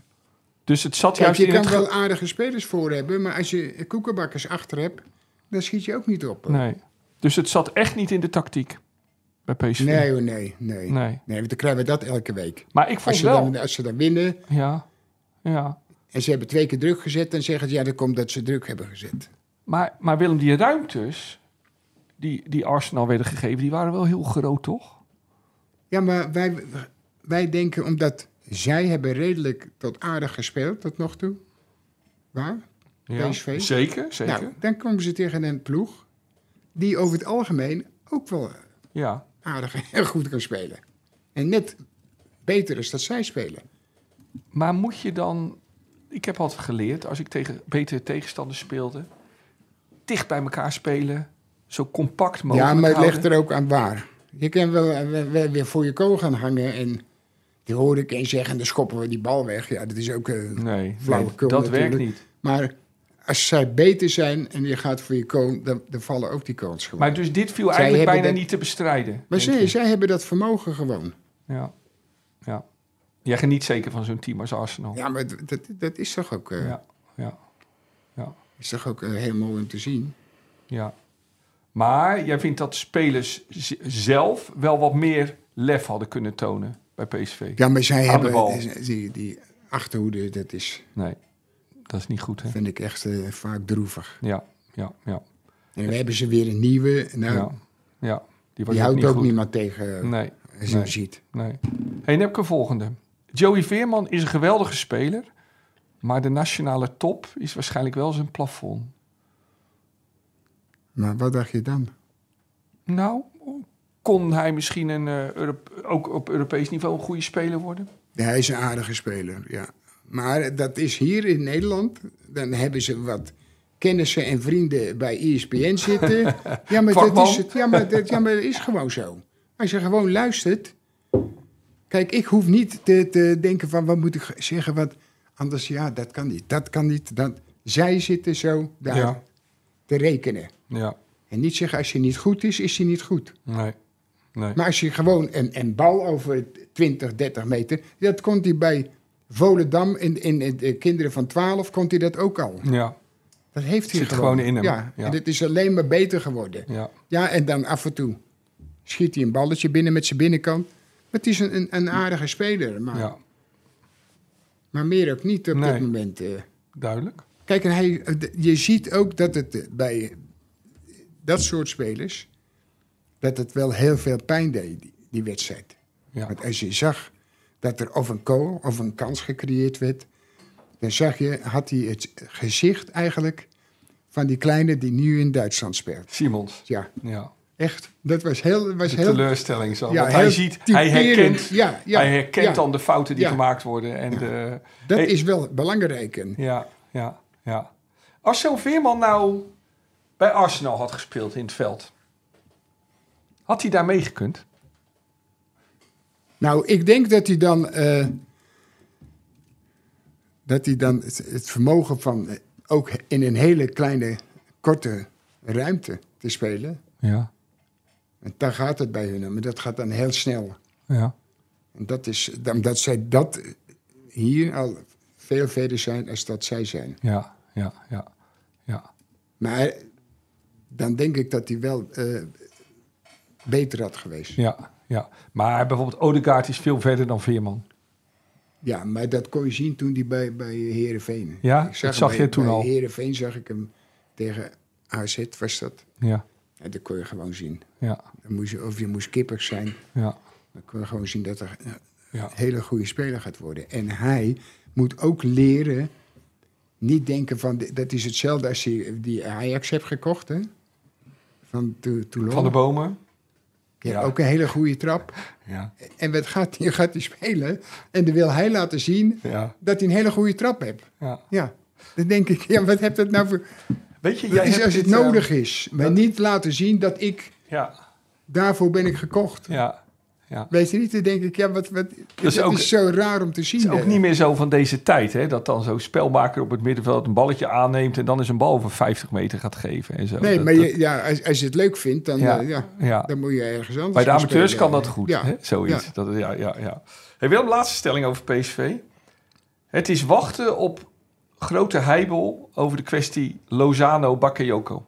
B: Dus het zat
C: Kijk,
B: juist
C: je
B: in
C: kan
B: het... ge-
C: wel aardige spelers voor hebben, maar als je koekenbakkers achter hebt, dan schiet je ook niet op. hoor.
B: Nee. Dus het zat echt niet in de tactiek bij PSV.
C: Nee, hoor, nee, nee. Nee,
B: nee.
C: want dan krijgen we dat elke week.
B: Maar ik vond
C: Als ze,
B: wel...
C: dan, als ze dan winnen
B: Ja, ja.
C: en ze hebben twee keer druk gezet, dan zeggen ze ja, dat komt dat ze druk hebben gezet.
B: Maar, maar Willem, die ruimtes die, die Arsenal werden gegeven, die waren wel heel groot, toch?
C: Ja, maar wij, wij denken omdat zij hebben redelijk tot aardig gespeeld tot nog toe. Waar? PSV?
B: Zeker, zeker.
C: Nou, dan komen ze tegen een ploeg die over het algemeen ook wel
B: Ja,
C: aardig [LAUGHS] en goed kan spelen. En net beter is dat zij spelen.
B: maar moet je dan... Ik heb altijd geleerd, als ik tegen betere tegenstanders speelde... dicht bij elkaar spelen, zo compact mogelijk
C: Ja, maar het
B: houden.
C: ligt er ook aan waar. Je kan wel, eh, wel- wel weer voor je kool gaan hangen. En die hoorde ik eens zeggen, dan schoppen we die bal weg. Ja, dat is ook... eh,
B: Nee,
C: Flauwekul
B: dat
C: natuurlijk.
B: werkt niet.
C: Maar als zij beter zijn en je gaat voor je kool, dan, dan vallen ook die kansen gewoon.
B: Maar dus dit viel eigenlijk
C: hebben
B: bijna
C: dat-
B: niet te bestrijden.
C: Maar
B: denk
C: zij,
B: ik.
C: zij hebben dat vermogen gewoon.
B: Ja. ja. Jij geniet zeker van zo'n team als Arsenal.
C: Ja, maar dat, dat- dat is, toch ook, eh,
B: Ja. Ja. Ja.
C: is toch ook eh, heel mooi om te zien.
B: Ja. Maar jij vindt dat spelers z- zelf wel wat meer lef hadden kunnen tonen bij PSV?
C: Ja, maar zij
B: Aan de bal.
C: hebben eh, die, die achterhoede, dat is,
B: Nee, dat is niet goed, hè?
C: vind ik echt eh, vaak droevig.
B: Ja, ja, ja.
C: En we hebben ze weer een nieuwe. Nou,
B: ja. ja. Die was
C: die houdt
B: niet
C: ook
B: goed.
C: niemand tegen eh,
B: Nee,
C: als je hem
B: nee.
C: ziet.
B: nee. Hey, dan heb ik een volgende. Joey Veerman is een geweldige speler, maar de nationale top is waarschijnlijk wel zijn plafond.
C: Maar wat dacht je dan?
B: Nou, kon hij misschien een, eh, Europe- ook op Europees niveau een goede speler worden?
C: Ja, hij is een aardige speler, ja. Maar dat is hier in Nederland. Dan hebben ze wat kennissen en vrienden bij E ESPN
B: [LAUGHS]
C: zitten. Ja, maar dat
B: Vakman.
C: is, het. Ja, maar dat, ja, maar dat is gewoon zo. Als je gewoon luistert. Kijk, ik hoef niet te, te denken van wat moet ik zeggen, want anders ja, dat kan niet, dat kan niet. Dat, zij zitten zo daar
B: Ja.
C: te rekenen.
B: Ja,
C: En niet zeggen als je niet goed is, is hij niet goed.
B: nee. nee.
C: Maar als je gewoon een, een bal over 20, 30 meter. Dat komt hij bij Volendam in, in, in de kinderen van 12 komt hij dat ook al.
B: Ja,
C: Dat heeft hij
B: Zit
C: gewoon.
B: gewoon in hem,
C: Ja,
B: ja.
C: en het is alleen maar beter geworden.
B: ja.
C: Ja, en dan af en toe schiet hij een balletje binnen met zijn binnenkant. Maar het is een, een, een aardige speler. Maar,
B: Ja,
C: maar meer ook niet op
B: Nee.
C: dit moment. eh.
B: duidelijk.
C: Kijk, en hij, eh, je ziet ook dat het eh, bij dat soort spelers... dat het wel heel veel pijn deed, die- die wedstrijd.
B: Ja,
C: Want als je zag dat er of een goal of een kans gecreëerd werd, dan zag je, had hij het gezicht eigenlijk van die kleine die nu in Duitsland speelt.
B: Simons.
C: Ja,
B: Ja,
C: echt. Dat was heel. Was
B: de
C: heel
B: teleurstelling zo.
C: ja,
B: want hij
C: heel
B: ziet, hij
C: typerend.
B: herkent,
C: Ja, ja,
B: hij herkent
C: ja.
B: dan de fouten die
C: Ja.
B: gemaakt worden. En de,
C: Dat
B: Hey.
C: is wel belangrijk. En
B: ja, ja, ja. Als zo'n Veerman nou bij Arsenal had gespeeld in het veld, had hij daar meegekund?
C: Nou, ik denk dat hij dan. eh, dat hij dan het, het vermogen van. eh, ook in een hele kleine, korte ruimte te spelen.
B: Ja,
C: En daar gaat het bij hun om. Maar dat gaat dan heel snel.
B: ja,
C: En dat is, omdat zij dat hier al veel verder zijn als dat zij zijn.
B: ja, ja, ja. ja.
C: Maar dan denk ik dat hij wel eh, beter had geweest. Ja.
B: Ja, ja. Maar bijvoorbeeld Odegaard is veel verder dan Veerman.
C: maar dat kon je zien toen hij bij, bij Heerenveen.
B: Ja,
C: Ik
B: dat
C: hem
B: zag
C: bij-
B: je toen
C: bij
B: al.
C: Heerenveen zag ik hem tegen AZ, was dat.
B: Ja,
C: En dat kon je gewoon zien.
B: ja,
C: Dan moest je, of je moest kippig zijn.
B: ja,
C: Dan kon je gewoon zien dat er eh,
B: ja.
C: een hele goede speler gaat worden. En hij moet ook leren niet denken van... de- Dat is hetzelfde als je die Ajax hebt gekocht, hè? Van Tou- Toulon.
B: Van de bomen.
C: Ja,
B: ja.
C: ook een hele goede trap.
B: Ja,
C: En wat gaat hij gaat die spelen? En dan wil hij laten zien
B: ja,
C: dat hij een hele goede trap hebt.
B: ja.
C: Ja, dan denk ik, ja, wat heb dat nou voor...
B: Weet je,
C: Dat is
B: hebt
C: als het
B: dit, eh,
C: nodig is. Maar
B: dat-
C: niet laten zien dat ik...
B: Ja,
C: Daarvoor ben ik gekocht.
B: ja.
C: Weet je niet? Dan denk ik, ja, wat... wat dat
B: ook-
C: is zo raar om te zien.
B: Het is ook
C: hè.
B: niet meer zo van deze tijd, hè? Dat dan zo'n spelmaker op het middenveld een balletje aanneemt en dan eens een bal van 50 meter gaat geven en zo.
C: Nee,
B: Dat-
C: maar
B: dat-
C: je, ja, als, als je het leuk vindt, dan,
B: Ja.
C: eh, ja,
B: ja.
C: dan moet je ergens anders
B: Bij de
C: gaan
B: amateurs
C: spelen.
B: kan dat goed,
C: eh, Ja.
B: hè? Zoiets.
C: Ja.
B: Dat, ja, ja, ja. Hey, Willem, laatste stelling over PSV. Het is wachten op grote heibel over de kwestie Lozano-Bakayoko.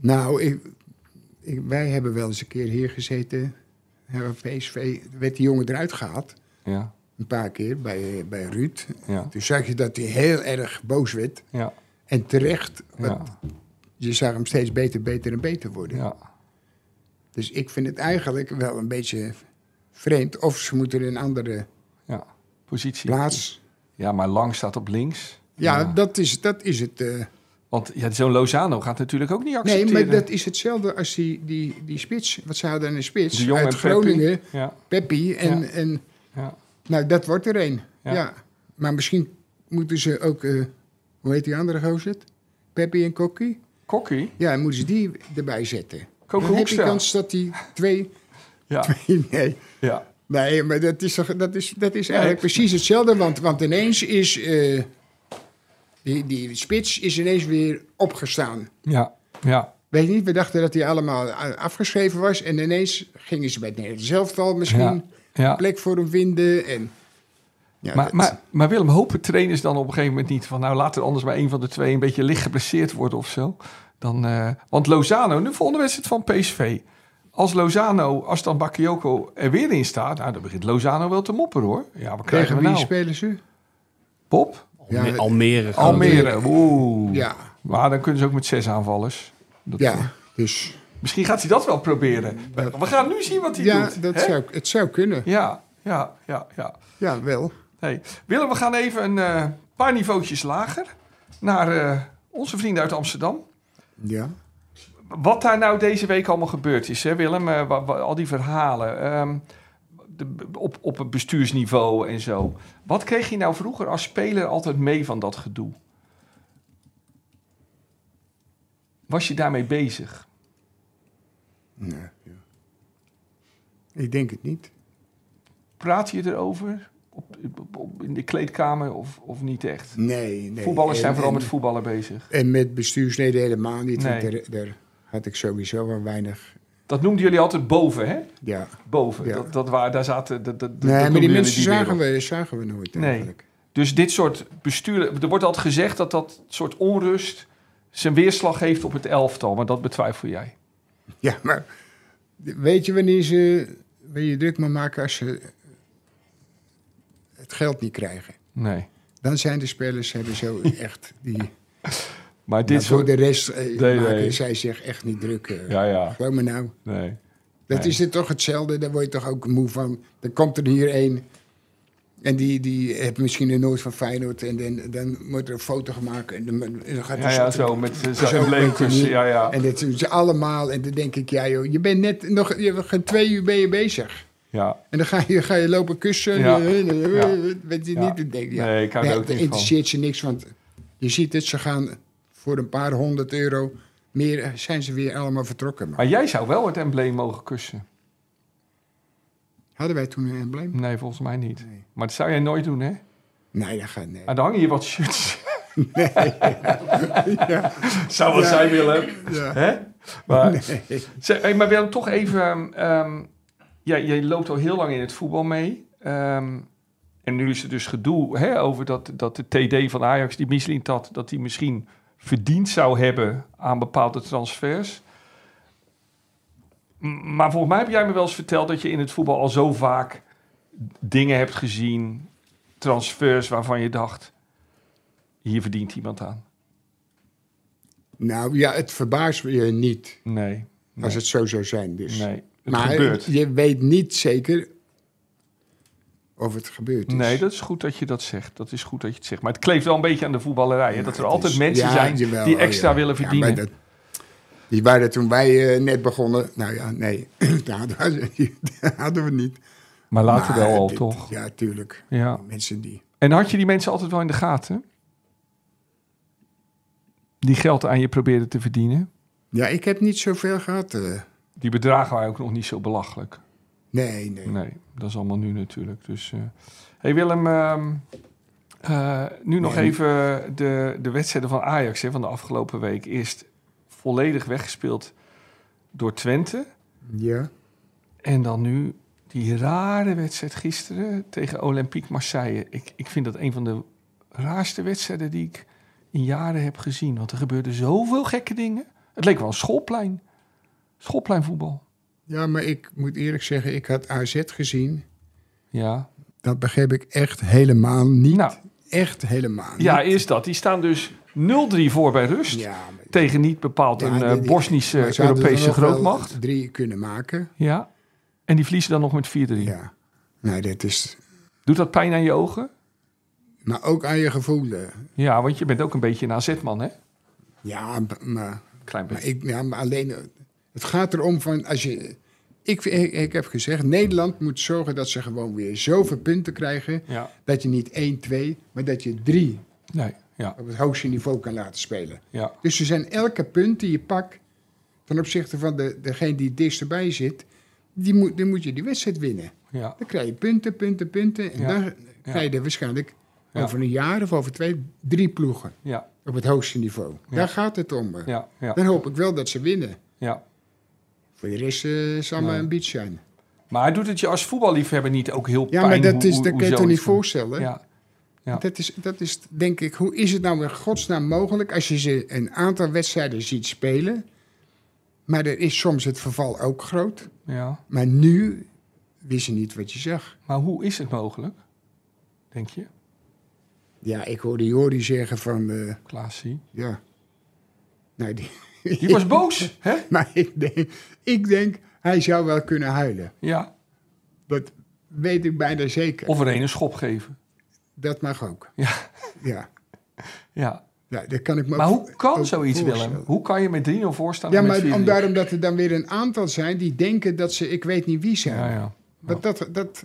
C: Nou, ik, ik- wij hebben wel eens een keer hier gezeten. Hebben we PSV, werd die jongen eruit gehaald.
B: Ja,
C: Een paar keer bij, bij Ruud.
B: ja,
C: Toen zag je dat hij heel erg boos werd.
B: ja,
C: En terecht, want
B: ja,
C: je zag hem steeds beter, beter en beter worden.
B: ja.
C: Dus ik vind het eigenlijk wel een beetje vreemd. Of ze moeten in een andere
B: ja. Positie.
C: plaats.
B: Ja, maar lang staat op links.
C: Ja, Dat, is, dat is het. eh.
B: Want ja, zo'n Lozano gaat natuurlijk ook niet
C: Nee,
B: accepteren.
C: maar dat is hetzelfde als die, die, die spits. Wat ze hadden een spits
B: De Jong
C: uit
B: en Peppi.
C: Groningen.
B: Ja,
C: Peppi. En,
B: Ja.
C: en
B: ja.
C: nou, dat wordt er een.
B: Ja.
C: Ja. Maar misschien moeten ze ook... eh, hoe heet die andere gozer? het? Peppi en Kokkie?
B: Kokkie?
C: Ja, moeten ze die erbij zetten.
B: Coco
C: Dan heb je
B: Hoekstra.
C: kans dat die twee... [LAUGHS]
B: Ja,
C: Nee,
B: ja.
C: nee maar dat is, toch, dat is, dat is eigenlijk precies hetzelfde. Want, want ineens is... eh, die, die spits is ineens weer opgestaan.
B: Ja, ja.
C: Weet je niet, we dachten dat hij allemaal a- afgeschreven was. En ineens gingen ze bij het Nederlands elftal misschien
B: ja.
C: plek voor hem vinden. En, ja,
B: Maar,
C: dat-
B: maar, maar Willem, hopen trainers dan op een gegeven moment niet van... nou, laat er anders maar een van de twee een beetje licht geblesseerd worden of zo. Dan, eh, want Lozano, de volgende wedstrijd van PSV. Als Lozano, als dan Bakayoko er weer in staat... nou, dan begint Lozano wel te mopperen, hoor. Ja, wat krijgen
C: tegen
B: we
C: wie
B: nou?
C: spelen ze?
B: Pop?
C: Ja,
E: Alme- Almere. gaan we-
B: Almere, oeh.
C: Oh, Ja,
B: Maar dan kunnen ze ook met zes aanvallers. Dat-
C: ja dus
B: Misschien gaat hij dat wel proberen. We gaan nu zien wat hij
C: ja,
B: doet.
C: dat
B: hè?
C: zou, het zou kunnen.
B: Ja, ja, ja, ja.
C: Ja, wel.
B: Hey, Willem, we gaan even een eh, paar niveautjes lager naar eh, onze vrienden uit Amsterdam.
C: Ja.
B: Wat daar nou deze week allemaal gebeurd is, hè, Willem, eh, wa- wa- al die verhalen ehm, de- op, op het bestuursniveau en zo. Wat kreeg je nou vroeger als speler altijd mee van dat gedoe? Was je daarmee bezig?
C: Nee, ja. Ik denk het niet.
B: Praat je erover op, op- op- in de kleedkamer of, of niet echt?
C: Nee, nee.
B: Voetballers zijn
C: En-
B: vooral
C: en-
B: met voetballen bezig.
C: En met bestuursleden helemaal niet. want
B: Nee.
C: Daar, daar had ik sowieso wel weinig.
B: Dat noemden jullie altijd boven, hè?
C: Ja.
B: boven.
C: Ja.
B: Dat, dat waar, daar zaten. Dat, dat, dat
C: Nee, maar
B: noemden
C: die
B: jullie
C: mensen zagen,
B: wereld.
C: we, zagen we nooit
B: Nee.
C: eigenlijk.
B: Dus dit soort besturen. Er wordt altijd gezegd dat dat soort onrust zijn weerslag heeft op het elftal, maar dat betwijfel jij.
C: Ja, maar weet je wanneer ze wil je druk maar maken als ze het geld niet krijgen?
B: Nee.
C: Dan zijn de spelers hebben
B: [LAUGHS]
C: zo echt die.
B: Maar dit
C: Maar voor
B: soort.
C: de rest eh,
B: nee.
C: maken zij zich echt niet druk. eh.
B: Ja, ja.
C: Geloof me nou.
B: Nee.
C: Dat
B: Nee.
C: is het toch hetzelfde. Daar word je toch ook moe van. Dan komt er hier één. En die, die heeft misschien een nood van Feyenoord. En dan, dan wordt er een foto gemaakt. En dan, dan gaat
B: Ja,
C: er
B: ja, zo met eh,
C: Zo
B: zo'n embleemkus.
C: weet je niet.
B: Ja, ja.
C: En dat doen ze allemaal. En dan denk ik, ja joh, je bent net nog, je bent geen twee uur ben je bezig.
B: ja.
C: En dan ga je, ga je lopen kussen.
B: Ja.
C: [LAUGHS] Ja.
B: Ja.
C: Weet je
B: Ja.
C: niet, dan denk je, ja.
B: Nee, ik hou er
C: Nee,
B: ook niet
C: dat
B: van.
C: interesseert je niks, want je ziet het, ze gaan voor een paar honderd euro meer, eh, zijn ze weer allemaal vertrokken. Maar
B: Maar jij zou wel het embleem mogen kussen.
C: hadden wij toen een embleem?
B: Nee, volgens mij niet.
C: Nee.
B: Maar dat zou jij nooit doen, hè?
C: Nee, dat gaat nee.
B: Ah, dan hangen hier wat shirts. Zou wat zijn, Willem.
C: Ja.
B: Hè? Maar, Zeg, hey, maar Willem, toch even... ehm ja, jij loopt al heel lang in het voetbal mee. Ehm, en nu is er dus gedoe hè, over dat, dat de TD van Ajax, die Michelin dat, dat die misschien verdiend zou hebben aan bepaalde transfers. M- Maar volgens mij heb jij me wel eens verteld dat je in het voetbal al zo vaak dingen hebt gezien, transfers waarvan je dacht, hier verdient iemand aan.
C: Nou ja, het verbaast je niet
B: Nee,
C: als
B: Nee.
C: het zo zou zijn. Dus.
B: nee. Het
C: maar
B: gebeurt.
C: je weet niet zeker of het gebeurd is.
B: Nee, dat is goed dat je dat zegt. Dat is goed dat je het zegt. Maar het kleeft wel een beetje aan de voetballerij. Hè? Dat er
C: Het
B: altijd
C: is-
B: mensen
C: Dus ja,
B: zijn
C: jawel,
B: die
C: oh,
B: extra
C: ja.
B: willen
C: Ja, maar
B: verdienen.
C: dat- die waren toen wij eh, net begonnen. Nou ja, nee, [LAUGHS] dat hadden [LAUGHS] we, dat hadden we niet.
B: maar later
C: Maar
B: wel al,
C: dit-
B: toch?
C: Ja, tuurlijk.
B: Ja.
C: Mensen die.
B: En had je die mensen altijd wel in de gaten? Die geld aan je probeerden te verdienen?
C: Ja, ik heb niet zoveel gehad. eh.
B: Die bedragen waren ook nog niet zo belachelijk.
C: nee, nee.
B: Nee, dat is allemaal nu natuurlijk. Dus, eh hey Willem, ehm, eh, nu nog
C: Nee.
B: even de, de wedstrijden van Ajax hè, van de afgelopen week. Eerst volledig weggespeeld door Twente.
C: Ja.
B: En dan nu die rare wedstrijd gisteren tegen Olympique Marseille. Ik, ik vind dat een van de raarste wedstrijden die ik in jaren heb gezien. Want er gebeurden zoveel gekke dingen. Het leek wel een schoolplein. Schoolpleinvoetbal.
C: ja, maar ik moet eerlijk zeggen, ik had AZ gezien.
B: Ja.
C: Dat begreep ik echt helemaal niet.
B: Nou,
C: Echt helemaal niet.
B: ja, eerst dat. Die staan dus 0-3 voor bij rust.
C: Ja, maar-
B: Tegen niet bepaald
C: Ja,
B: een eh,
C: die- die-
B: Bosnische
C: maar ze hadden er
B: Europese
C: nog wel
B: grootmacht.
C: Drie kunnen maken.
B: Ja. En die verliezen dan nog met 4-3.
C: Ja. Nou, dat is.
B: Doet dat pijn aan je ogen?
C: Maar ook aan je gevoel. eh.
B: Ja, want je bent ook een beetje een AZ-man, hè?
C: Ja, b- maar,
B: Klein
C: maar,
B: beetje.
C: ik, ja, maar alleen. eh, Het gaat erom van. Als je, ik, ik, ik heb gezegd: Nederland moet zorgen dat ze gewoon weer zoveel punten krijgen.
B: Ja.
C: Dat je niet 1, 2, maar dat je 3
B: Nee. Ja.
C: op het hoogste niveau kan laten spelen.
B: Ja.
C: Dus er zijn elke punt die je pakt, ten opzichte van de, degene die het dichtst erbij zit, die moet, dan moet je die wedstrijd winnen.
B: Ja.
C: Dan krijg je punten, punten, punten. En
B: Ja.
C: dan krijg je er waarschijnlijk
B: Ja.
C: over een jaar of over twee, drie ploegen
B: Ja.
C: op het hoogste niveau.
B: Ja.
C: Daar gaat het om. eh.
B: Ja. Ja.
C: Dan hoop ik wel dat ze winnen.
B: ja.
C: Voor de rest eh, zal maar
B: Nee.
C: een beach zijn.
B: Maar doet het je als voetballiefhebber niet ook heel
C: Ja,
B: pijn?
C: maar dat,
B: hoe-
C: is,
B: hoe-
C: dat
B: hoe
C: kan je toch
B: zoiets
C: niet voorstellen?
B: van- Ja. Ja.
C: Dat, is, dat is, denk ik, hoe is het nou in godsnaam mogelijk als je ze een aantal wedstrijden ziet spelen? Maar er is soms het verval ook groot.
B: ja.
C: Maar nu wist je niet wat je zag.
B: Maar hoe is het mogelijk? Denk je,
C: Ja, ik hoorde Jori zeggen van, eh, [LAUGHS]
B: Klaasie?
C: ja. Nou, die, [LAUGHS]
B: Die was boos, hè?
C: maar ik denk, ik denk, hij zou wel kunnen huilen.
B: Ja.
C: Dat weet ik bijna zeker.
B: Of er een een schop geven.
C: Dat mag ook.
B: Ja.
C: Ja,
B: ja.
C: ja dat kan ik me
B: Maar
C: ook-
B: hoe kan
C: ook
B: zoiets,
C: voorstellen.
B: Willem? Hoe kan je met 3-0 voorstaan
C: Ja,
B: en met
C: maar
B: 4-3?
C: om, daarom dat er dan weer een aantal zijn die denken dat ze ik weet niet wie zijn.
B: Ja, ja.
C: Want dat, dat,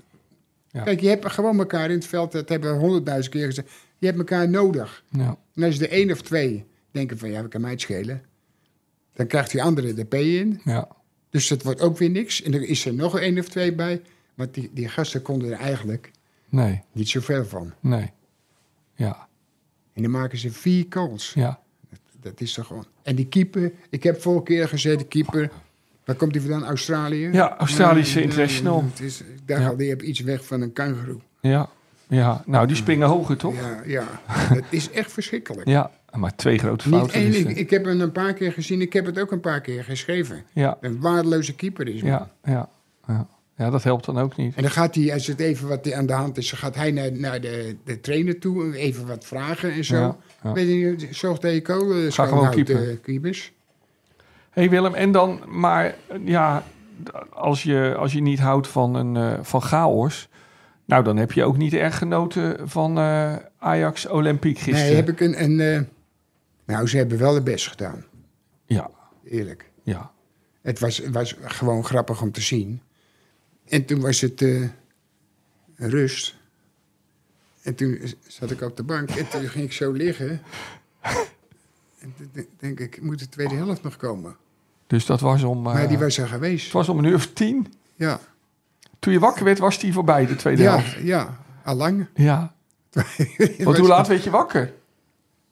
B: Ja.
C: Kijk, je hebt gewoon elkaar in het veld, dat hebben we honderdduizend keer gezegd. Je hebt elkaar nodig.
B: ja.
C: En als de één of twee denken van ja, we kan mij het schelen. Dan krijgt die andere de P in.
B: Ja,
C: Dus dat wordt ook weer niks. En er is er nog één of twee bij. Want die, die gasten konden er eigenlijk
B: nee,
C: niet zoveel van.
B: nee. Ja,
C: En dan maken ze vier calls.
B: ja,
C: Dat is toch gewoon. En die keeper, ik heb vorige keer gezegd, de keeper. Waar komt die vandaan? Australië?
B: Ja, Australische
C: Nee, nee,
B: international.
C: nee, het is, ik dacht
B: Ja.
C: al, die heb iets weg van een kangeroe.
B: ja, ja. Nou, die springen hoger, toch? Ja,
C: Ja,
B: [LAUGHS]
C: ja. het is echt verschrikkelijk.
B: maar twee grote
C: Niet
B: fouten.
C: één,
B: dus,
C: ik,
B: eh,
C: ik heb hem een paar keer gezien, ik heb het ook een paar keer geschreven.
B: ja,
C: Een waardeloze keeper is. man.
B: ja, ja, ja. Ja, dat helpt dan ook niet.
C: En dan gaat hij, als het even wat er aan de hand is, dan gaat hij naar, naar de, de trainer toe, even wat vragen en zo.
B: Ja, ja.
C: Weet je, niet, zorg dat je kool eh,
B: gewoon
C: schoonhoudt,
B: keeper.
C: eh, keepers.
B: hey Willem, en dan, maar eh, ja, d- als je, als je niet houdt van, een, eh, van chaos, nou dan heb je ook niet erg genoten van eh, Ajax Olympiek gisteren.
C: Nee, heb ik een... een eh, nou, ze hebben wel het best gedaan,
B: Ja,
C: eerlijk.
B: ja,
C: Het was, was gewoon grappig om te zien. En toen was het eh, rust. En toen zat ik op de bank en toen ging ik zo liggen. En toen de- denk ik, moet de tweede helft nog komen?
B: dus dat was om, eh,
C: Maar die was er
B: het
C: geweest.
B: was om een uur of tien.
C: Ja,
B: Toen je wakker werd, was die voorbij, de tweede
C: ja,
B: helft.
C: ja, allang. [LAUGHS]
B: Ja,
C: Het
B: want
C: was
B: hoe laat werd je wakker?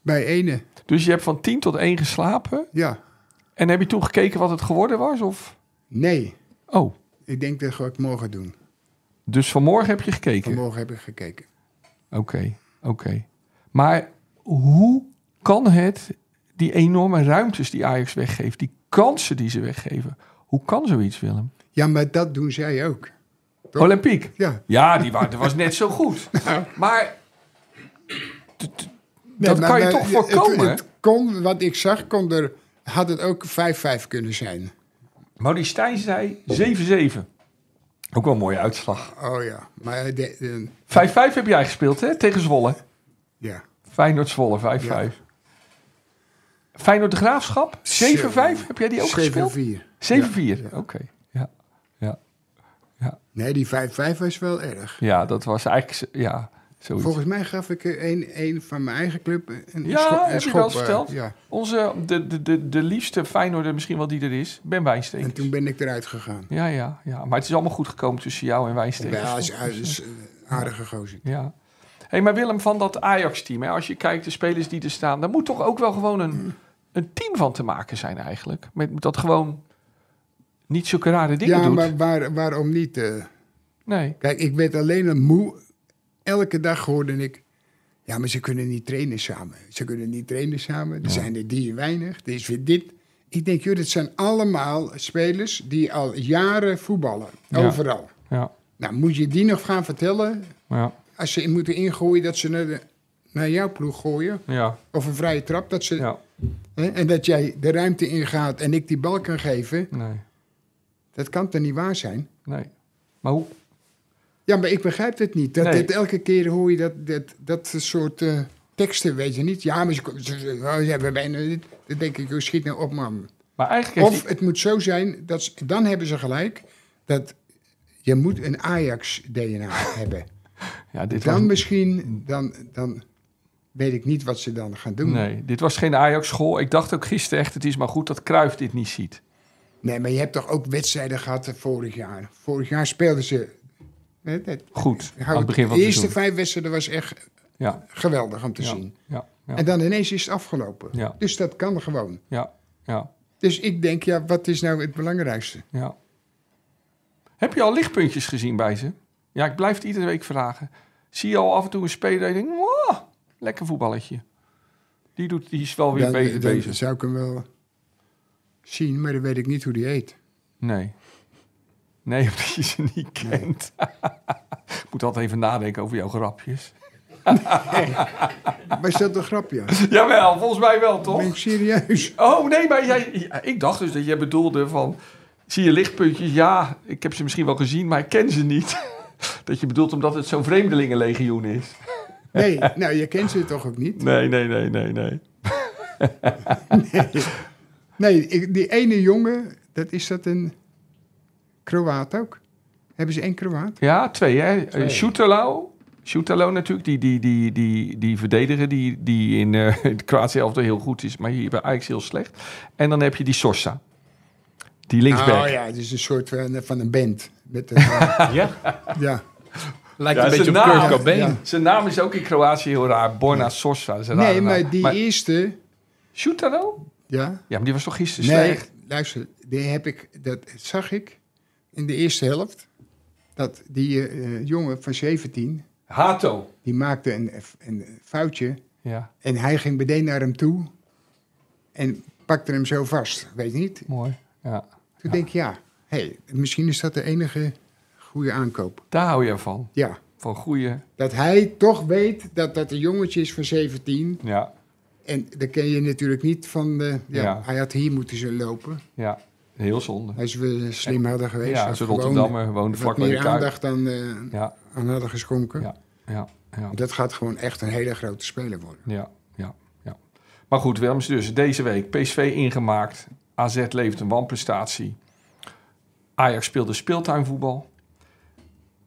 C: Bij ene,
B: Dus je hebt van 10 tot 1 geslapen.
C: ja.
B: En heb je toen gekeken wat het geworden was? Of?
C: Nee,
B: Oh,
C: ik denk dat ga ik morgen doen.
B: dus vanmorgen heb je gekeken. Oké,
C: Vanmorgen heb ik gekeken.
B: oké. Maar hoe kan het, die enorme ruimtes die Ajax weggeeft, die kansen die ze weggeven, hoe kan zoiets, Willem?
C: Ja, maar dat doen zij ook. Toch?
B: Olympiek.
C: Ja,
B: Ja, die wa- dat was net zo
C: [LAUGHS]
B: goed. Maar t- t- dat
C: Nee, maar-
B: kan je
C: maar
B: toch
C: het-
B: voorkomen?
C: Het, kon, wat ik zag, kon er, had het ook 5-5 kunnen zijn.
B: Maurice Stijn zei 7-7. Ook wel een mooie uitslag. 5-5
C: Oh ja, maar de- de-
B: heb jij gespeeld, hè? Tegen Zwolle.
C: ja.
B: Feyenoord Zwolle 5-5. Feyenoord de Graafschap 7-5. Heb jij die ook gespeeld?
C: 7-4.
B: 7-4. Oké. Ja.
C: Nee, die 5-5 was wel erg.
B: ja, dat was eigenlijk z- ja, zoiets.
C: Volgens mij gaf ik er een, een van mijn eigen club een
B: Ja,
C: schop. een
B: heb je
C: schop,
B: wel
C: eh,
B: verteld?
C: ja.
B: Onze de, de, de, de liefste Feyenoorder misschien wel die er is, Ben
C: En
B: Wijnstekers.
C: toen ben ik eruit gegaan.
B: Ja, ja, ja. Maar het is allemaal goed gekomen tussen jou en Wijnstekers.
C: Ja,
B: toch?
C: is, is eh, aardige gozer.
B: Ja. hey, maar Willem, van dat Ajax-team, hè, als je kijkt de spelers die er staan, daar moet toch ook wel gewoon een, een team van te maken zijn eigenlijk. Met dat gewoon niet zulke rare dingen
C: Ja,
B: doet.
C: maar waar, waarom niet? eh?
B: Nee.
C: Kijk, ik werd alleen een moe. Elke dag hoorde ik. Ja, maar ze kunnen niet trainen samen. Ze kunnen niet trainen samen. Er zijn er die en weinig. Er is weer dit. Ik denk, joh, dat zijn allemaal spelers die al jaren voetballen.
B: Ja.
C: Overal.
B: Ja.
C: Nou, moet je die nog gaan vertellen.
B: Ja.
C: Als ze moeten ingooien, dat ze naar, de- naar jouw ploeg gooien.
B: Ja.
C: Of een vrije trap. Dat ze,
B: Ja.
C: hè, en dat jij de ruimte ingaat en ik die bal kan geven.
B: Nee.
C: Dat kan toch niet waar zijn?
B: Nee. Maar hoe?
C: Ja, maar ik begrijp het niet. Dat,
B: Nee.
C: dat elke keer hoor je dat, dat, dat soort eh, teksten, weet je niet. Ja, maar ze, ze- ze- oh, ja, we bijna dit. Dan denk ik, joh, schiet nou op, man.
B: Maar eigenlijk heeft
C: Of het moet zo zijn, dat, ze- dan hebben ze gelijk, dat je moet een Ajax-DNA [LAUGHS] hebben.
B: die- ja, dit
C: Dan
B: was,
C: misschien, dan, dan weet ik niet wat ze dan gaan doen.
B: nee, dit was geen Ajax-school. Ik dacht ook gisteren echt, het is maar goed dat Kruif dit niet ziet.
C: Nee, maar je hebt toch ook wedstrijden gehad eh, vorig jaar. Vorig jaar speelden ze. hè, dat-
B: Goed, aan
C: hou-
B: het begin van
C: de
B: het
C: eerste
B: seizoen.
C: vijf wedstrijden was echt
B: Ja,
C: geweldig om te
B: Ja.
C: zien.
B: ja, ja,
C: En dan ineens is het afgelopen.
B: Ja.
C: Dus dat kan gewoon.
B: ja, ja,
C: Dus ik denk, ja, wat is nou het belangrijkste?
B: ja. Heb je al lichtpuntjes gezien bij ze? Ja, ik blijf het iedere week vragen. Zie je al af en toe een speler en denk, "Mwah, lekker voetballetje. Die, doet, die is wel weer
C: Dan,
B: be-
C: dan
B: bezig.
C: zou ik hem wel zien, maar dan weet ik niet hoe die heet.
B: Nee. Nee, [LAUGHS] omdat je ze niet kent. [LAUGHS] ik moet altijd even nadenken over jouw grapjes.
C: Maar is dat een grapje?
B: [LAUGHS] Jawel, volgens mij wel, toch?
C: Ben ik serieus?
B: Oh, nee, maar jij, ja, ik dacht dus dat jij bedoelde van... Zie je lichtpuntjes? Ja, ik heb ze misschien wel gezien, maar ik ken ze niet. [LAUGHS] dat je bedoelt omdat het zo'n vreemdelingenlegioen [LAUGHS] is.
C: Nee, nou, je kent ze toch ook niet?
B: Nee, nee, nee, nee, nee.
C: Nee, ik- die ene jongen, dat is dat een Kroaat ook? Hebben ze één Kroaat?
B: Ja, twee, hè? Eh, Shootalo. Shootalo natuurlijk, die, die, die, die, die verdediger die, die in eh [LAUGHS] het Kroatië elftal heel goed is, maar hier bij Ajax heel slecht. En dan heb je die Sorsa. Die linksback.
C: Oh ja, het is een soort van, van een
B: [LAUGHS]
C: band. Met een, eh,
E: Ja,
C: ja.
E: lijkt
B: Ja,
E: een beetje
B: zijn
E: op Kurt
B: naam.
E: Cobain.
C: Ja.
B: Zijn naam is ook in Kroatië heel raar. Borna Sorsa. is een rare
C: Nee,
B: naam.
C: maar die eerste...
B: Shootalo?
C: Ja?
B: Ja, maar die was toch gisteren
C: Nee,
B: slecht?
C: luister, die heb ik, dat zag ik in de eerste helft. Dat die eh, jongen van 17,
B: Hato.
C: die maakte een, een foutje.
B: Ja,
C: En hij ging meteen naar hem toe en pakte hem zo vast. Weet je niet?
B: mooi. Ja.
C: Toen denk ik, ja, hey, misschien is dat de enige goede aankoop.
B: Daar hou je van.
C: Ja,
B: Van goede.
C: dat hij toch weet dat dat een jongetje is van 17.
B: Ja,
C: En dan ken je natuurlijk niet van, eh, ja,
B: Ja.
C: hij had hier moeten zo lopen.
B: ja. Heel zonde.
C: Als we slim hadden geweest,
B: Ja,
C: had
B: als een
C: gewoon
B: Rotterdammer woonde
C: wat
B: vlak bij de
C: meer
B: kuip.
C: aandacht aan, eh,
B: Ja,
C: aan hadden geschonken.
B: Ja. ja, ja.
C: Dat gaat gewoon echt een hele grote speler worden.
B: Ja, ja, ja. Maar goed, Willems dus deze week PSV ingemaakt. AZ levert een wanprestatie. Ajax speelde speeltuinvoetbal.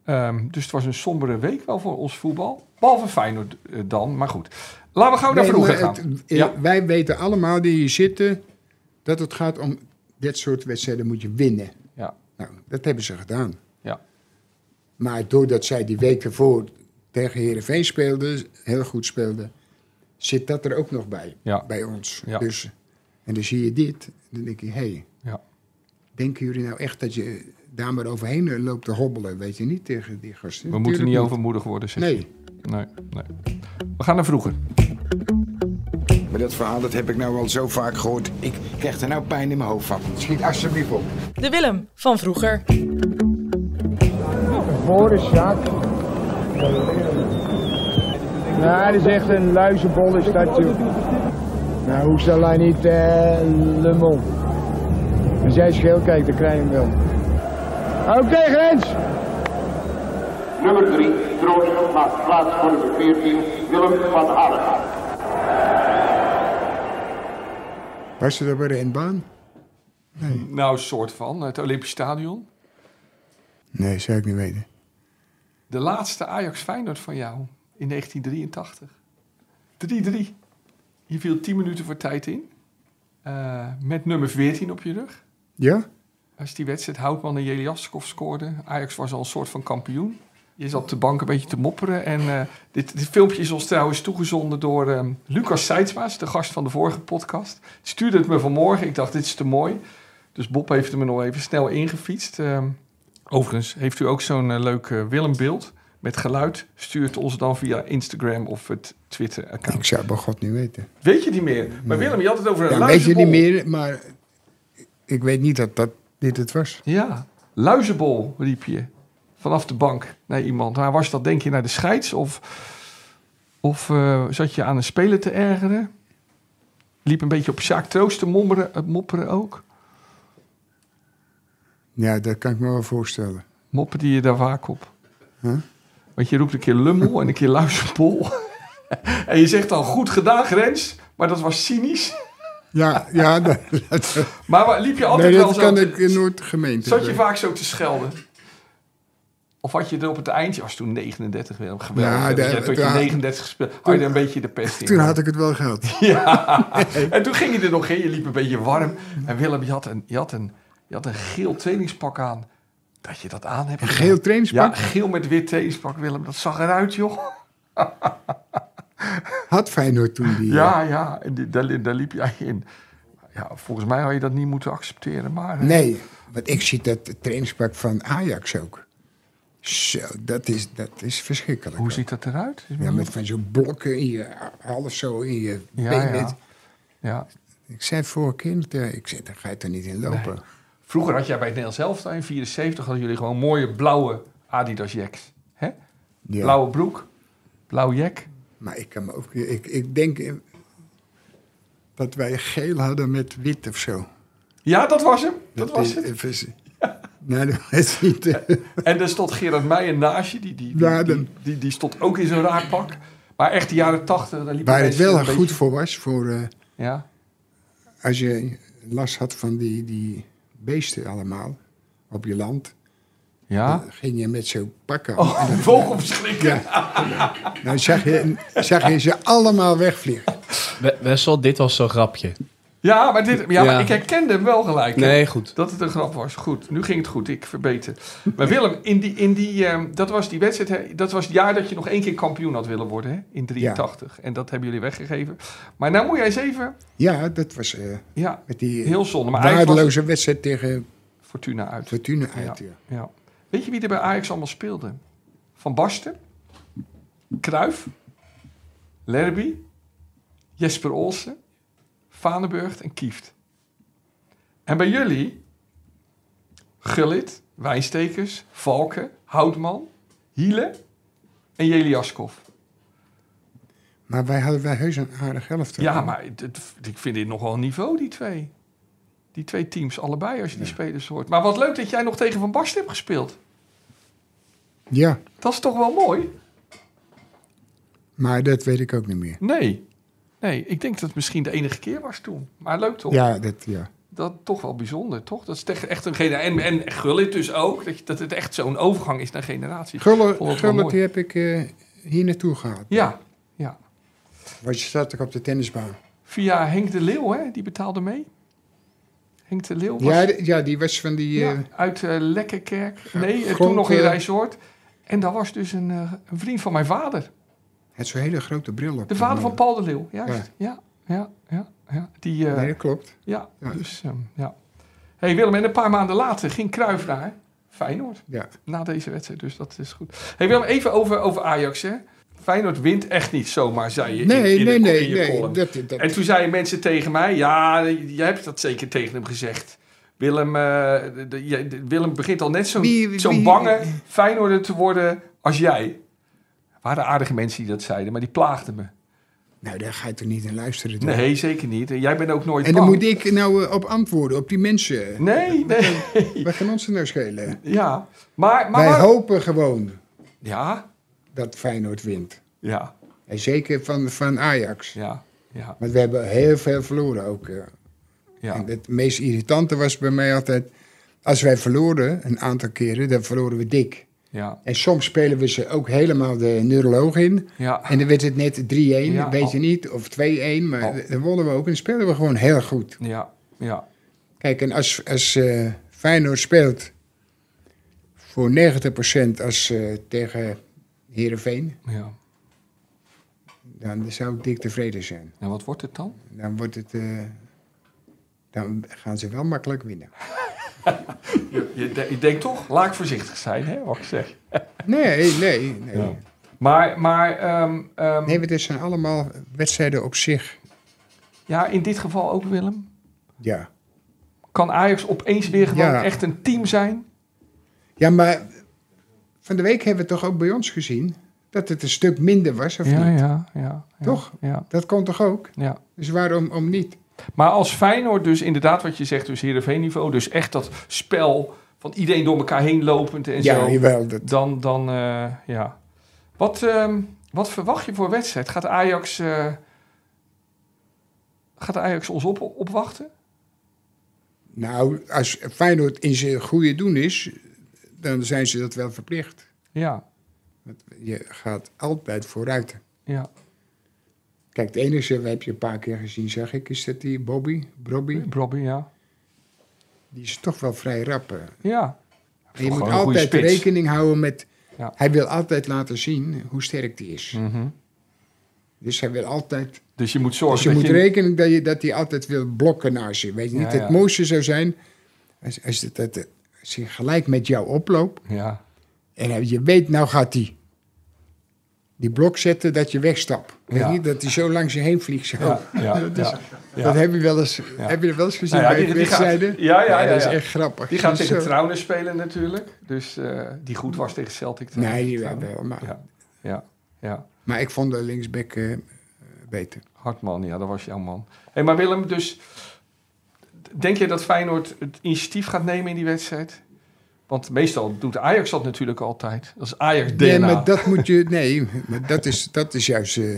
B: Ehm, dus het was een sombere week wel voor ons voetbal. Behalve Feyenoord eh, dan, maar goed. Laten we gauw naar
C: Nee,
B: vroeger
C: maar
B: gaan.
C: het- eh,
B: Ja.
C: Wij weten allemaal die hier zitten dat het gaat om dit soort wedstrijden moet je winnen.
B: Ja.
C: Nou, dat hebben ze gedaan.
B: Ja.
C: Maar doordat zij die week ervoor tegen Heerenveen speelden, heel goed speelden, zit dat er ook nog bij,
B: Ja.
C: bij ons.
B: Ja.
C: Dus, en dan zie je dit, dan denk je, hé, hey,
B: Ja.
C: denken jullie nou echt dat je daar maar overheen eh, loopt te hobbelen? Weet je niet tegen die gasten?
B: We moeten niet
C: Tuurlijk
B: overmoedig worden, zeg
C: Nee.
B: je. Nee, nee. We gaan naar vroeger.
F: Maar dat verhaal dat heb ik nou al zo vaak gehoord. Ik krijg er nou pijn in mijn hoofd van.
C: Schiet alsjeblieft op.
D: De Willem van vroeger.
G: Boris, Jaak. Nou, dat is echt een luizenbol is dat, joh. Nou, hoe zal hij niet eh Le Mans? Als jij scheel kijkt, dan krijg je hem wel. Oké, grens!
H: Nummer 3, Troost, maakt plaats voor nummer 14, Willem van Halen.
C: Was er bij de renbaan?
B: Nou, soort van. Het Olympisch Stadion.
C: Nee, zou ik niet weten.
B: De laatste Ajax-Feyenoord van jou in 1983. 3-3. Je viel 10 minuten voor tijd in. Eh, met nummer 14 op je rug.
C: Ja?
B: Als die wedstrijd Houtman en Jeliaskov scoorden. Ajax was al een soort van kampioen. Je zat op de bank een beetje te mopperen. En eh, dit, dit filmpje is ons trouwens toegezonden door eh, Lucas Seidsmaas, de gast van de vorige podcast. Die Stuurde het me vanmorgen. Ik dacht, dit is te mooi. Dus Bob heeft hem er nog even snel ingefietst. Ehm, overigens, heeft u ook zo'n eh, leuk eh, Willembeeld met geluid? Stuurt ons dan via Instagram of het
C: Ik
B: Twitter-account.
C: zou het bij God niet weten.
B: Weet je niet meer? Maar Willem, je had het over een
C: Ja, weet je niet
B: luizenbol.
C: meer, maar ik weet niet dat, dat dit het was.
B: Ja, luizenbol riep je vanaf de bank naar iemand. Maar was dat denk je naar de scheids of, of eh, zat je aan een speler te ergeren? Liep een beetje op Sjaak Troost te mommeren, eh, mopperen ook?
C: Ja, dat kan ik me wel voorstellen.
B: Mopperde je daar vaak op? Want je roept een keer lummel en een keer luizenbol. [LAUGHS] en je zegt dan goed gedaan Grens, maar dat was cynisch.
C: Ja, ja [LAUGHS] dat, dat-
B: Maar wa- liep je altijd
C: nee,
B: wel
C: dat
B: zo
C: kan
B: te-
C: ik in Noord-gemeente.
B: Zat je
C: zeggen.
B: vaak zo te schelden? Of had je er op het eindje, als toen 39 weer, geweldig.
C: Ja,
B: hè, dat
C: de-
B: je tot je
C: toen-
B: 39 gespeeld, had je er een beetje de pest in.
C: Toen had ik het wel gehad.
B: Ja. En toen ging je er nog in, je liep een beetje warm. En Willem, je had een, je had een, je Je had een geel trainingspak aan. Dat je dat aan hebt.
C: Een
B: gedaan.
C: geel trainingspak.
B: Ja, geel met wit trainingspak, Willem. Dat zag eruit, joh.
C: Had Feyenoord toen die...
B: Ja, ja. En die- daar, li- daar liep jij in. Ja, volgens mij had je dat niet moeten accepteren. Maar eh,
C: Nee, want ik zie dat trainingspak van Ajax ook. Zo, dat is, dat is verschrikkelijk.
B: hoe ziet dat eruit? Is
C: Ja,
B: me-
C: met van zo'n blokken in je, half zo in je
B: Ja,
C: been.
B: ja. ja.
C: Ik zei vorige keer, nog tegen- ik zei, daar ga je toch niet in lopen.
B: Vroeger had jij bij het Nederlands Elftal in 74 hadden jullie gewoon mooie blauwe Adidas jacks. Hè?
C: Ja.
B: Blauwe broek, blauw jack.
C: Maar ik kan me ook... Ik, ik denk eh, dat wij geel hadden met wit of zo.
B: Ja, dat was hem. Dat, was
C: is-
B: het.
C: is- Nee, dat was
B: [LAUGHS]
C: niet... eh,
B: En er stond Gerard Meijer naast je. Die, die, die,
C: Ja,
B: die,
C: dan-
B: die- die stond ook in zo'n raakpak. Maar echt de jaren 80, daar liep
C: waar het
B: ineens
C: wel
B: een
C: goed
B: beetje-
C: voor was, voor... eh,
B: Ja,
C: als je last had van die, die beesten allemaal op je land,
B: ja.
C: dan ging je met zo'n pakken.
B: Ah.
C: [LAUGHS]
B: Oh, vogelverschrikker.
C: Dan zag je, zag je ze allemaal wegvliegen.
E: We- Wessel, dit was zo'n grapje.
B: Ja, maar, dit, ja, maar
E: Ja.
B: ik herkende hem wel gelijk. hè?
E: Nee, goed.
B: Dat het een grap was. Goed, nu ging het goed. Ik verbeter. Maar Willem, in die, in die, ehm, dat was die wedstrijd. Hè, dat was het jaar dat je nog één keer kampioen had willen worden. Hè, in 83. En dat hebben jullie weggegeven. Maar nou moet jij eens even.
C: Ja, dat was eh,
B: Ja,
C: met die
B: heel zonde. Maar eigenlijk was
C: waardeloze wedstrijd tegen
B: het Fortuna uit.
C: Fortuna uit. Ja.
B: Ja. Weet je wie er bij Ajax allemaal speelde? Van Basten, Kruif, Lerby, Jesper Olsen, Vaneburg en Kieft. En bij jullie Gullit, Wijnstekers, Valken, Houtman, Hiele en Jeliaskov.
C: Maar wij hadden wel heus een aardig helft. hoor.
B: Ja, maar het- het- ik vind dit nogal een niveau, die twee. Die twee teams, allebei, als je die spelers hoort. Maar wat leuk dat jij nog tegen Van Basten hebt gespeeld.
C: ja,
B: Dat is toch wel mooi?
C: maar dat weet ik ook niet meer.
B: Nee. Nee, ik denk dat het misschien de enige keer was toen. Maar leuk toch?
C: Ja, dat, ja.
B: Dat toch wel bijzonder, toch? Dat is echt, echt een generatie. En, en Gullit dus ook. Dat, je- dat het echt zo'n overgang is naar generaties.
C: Gullet,
B: Vond het wel
C: Gullet
B: mooi.
C: die heb ik eh, hier naartoe gehaald.
B: Ja, ja.
C: Want je zat ook op de tennisbaan.
B: Via Henk de Leeuw, hè? Die betaalde mee. Henk de Leeuw was...
C: Ja, d- ja, die was van die...
B: Ja,
C: eh,
B: uit eh, Lekkerkerk. Nee, eh, toen
C: Grond,
B: nog in
C: eh,
B: Rijssoord. En daar was dus een, eh, een vriend van mijn vader.
C: had zo'n hele grote bril op.
B: De vader van Paul de Leeuw, juist.
C: Ja.
B: Ja, ja, ja. ja. Die, eh,
C: Nee, dat klopt.
B: Ja,
C: Ja.
B: dus ehm, ja. hey Willem, en een paar maanden later ging Cruijff naar Feyenoord.
C: Ja.
B: Na deze wedstrijd, dus dat is goed. hey Willem, even over, over Ajax, hè. Feyenoord wint echt niet zomaar, zei je in-
C: Nee,
B: in, de-
C: nee,
B: in
C: nee,
B: je
C: nee.
B: column.
C: Dat, dat,
B: En toen zeiden mensen tegen mij, ja, jij hebt dat zeker tegen hem gezegd. Willem, eh, de- de- jij- de- Willem begint al net
C: Wie-
B: zo'n
C: wie-
B: zo'n bange Feyenoorder te worden als jij. Er waren aardige mensen die dat zeiden, maar die plaagden me.
C: Nou, daar ga je toch niet in luisteren. toch?
B: Nee, zeker niet. En jij bent ook nooit
C: En dan
B: bang.
C: moet ik nou eh, op antwoorden, op die mensen. [LAUGHS]
B: Nee, nee.
C: Wij gaan ons er nou schelen.
B: Ja, maar... maar
C: Wij
B: maar-
C: hopen gewoon
B: Ja,
C: dat Feyenoord wint.
B: ja,
C: En zeker van, van Ajax.
B: ja, ja,
C: Want we hebben heel veel verloren ook. eh.
B: ja.
C: En het meest irritante was bij mij altijd... Als wij verloren, een aantal keren, dan verloren we dik.
B: ja.
C: En soms spelen we ze ook helemaal de neuroloog in.
B: Ja,
C: En dan werd het net 3-1,
B: Ja, Oh.
C: weet je
B: al-
C: niet. Of 2-1, maar
B: Al-
C: dan wonnen we ook. En dan spelen we gewoon heel goed.
B: ja, ja,
C: Kijk, en als, als eh, Feyenoord speelt voor 90% als eh, tegen Herenveen,
B: ja.
C: dan zou ik dik tevreden zijn.
B: En wat wordt het dan?
C: Dan wordt het. eh, dan gaan ze wel makkelijk winnen.
B: Je, je, de- je denkt toch, laat ik voorzichtig zijn, hè, wat ik zeg.
C: Nee, nee, nee.
B: Ja. Maar, maar ehm, ehm,
C: Nee, want het zijn allemaal wedstrijden op zich.
B: ja, in dit geval ook, Willem.
C: Ja.
B: Kan Ajax opeens weer gewoon
C: Ja.
B: echt een team zijn?
C: Ja, maar van de week hebben we toch ook bij ons gezien dat het een stuk minder was, of
B: Ja,
C: niet?
B: ja, ja. ja.
C: Toch?
B: Ja,
C: Dat kon toch ook?
B: ja.
C: Dus waarom om niet?
B: Maar als Feyenoord dus inderdaad wat je zegt, dus Heerenveen-niveau, dus echt dat spel van iedereen door elkaar heen lopend en
C: ja,
B: zo.
C: jawel. Dat,
B: Dan, dan eh, ja. Wat, ehm, wat verwacht je voor wedstrijd? Gaat Ajax, eh, gaat Ajax ons op, opwachten?
C: Nou, als Feyenoord in zijn goede doen is, dan zijn ze dat wel verplicht.
B: Ja,
C: Want je gaat altijd vooruit.
B: ja.
C: Kijk, het enige, we heb je een paar keer gezien, zag ik, is dat die Bobby, Bobby.
B: Bobby, ja.
C: die is toch wel vrij rap. hè.
B: Ja.
C: En je moet
B: Gewoon een goede
C: altijd
B: spits.
C: rekening houden met...
B: Ja. Mhm.
C: Hij wil altijd laten zien hoe sterk die is. Dus hij wil altijd...
B: Dus je moet zorgen
C: Dus je
B: dat
C: moet
B: je...
C: rekenen dat, je, dat hij altijd wil blokken naar je. Weet je niet,
B: Ja,
C: het
B: ja.
C: mooiste zou zijn... Als, als, het- dat, als hij gelijk met jou oploopt...
B: Ja,
C: En hij- je weet, nou gaat hij die blok zetten dat je wegstapt. Weet
B: Ja.
C: je, dat hij zo langs je heen vliegt. Zo.
B: ja, ja.
C: [LAUGHS] Dus-
B: ja. Ja.
C: Dat heb je, wel eens, heb je er wel eens gezien
B: Nou ja,
C: bij
B: die-
C: de
B: die gaat-
C: wedstrijden.
B: ja, ja, ja,
C: Dat is
B: ja.
C: echt grappig.
B: Die gaat
C: Dus
B: tegen
C: zo-
B: Trouwner spelen natuurlijk. Dus eh, die goed was tegen Celtic.
C: Nee, die
B: Trouwner.
C: wel. Maar,
B: Ja. Ja, ja.
C: maar ik vond de linksback eh, beter.
B: Hartman, ja, dat was jouw man. Hey, maar Willem, dus denk je dat Feyenoord het initiatief gaat nemen in die wedstrijd? Want meestal doet Ajax dat natuurlijk altijd. Dat is Ajax DNA.
C: Nee, maar dat moet je. Nee, maar dat is, dat is juist. eh,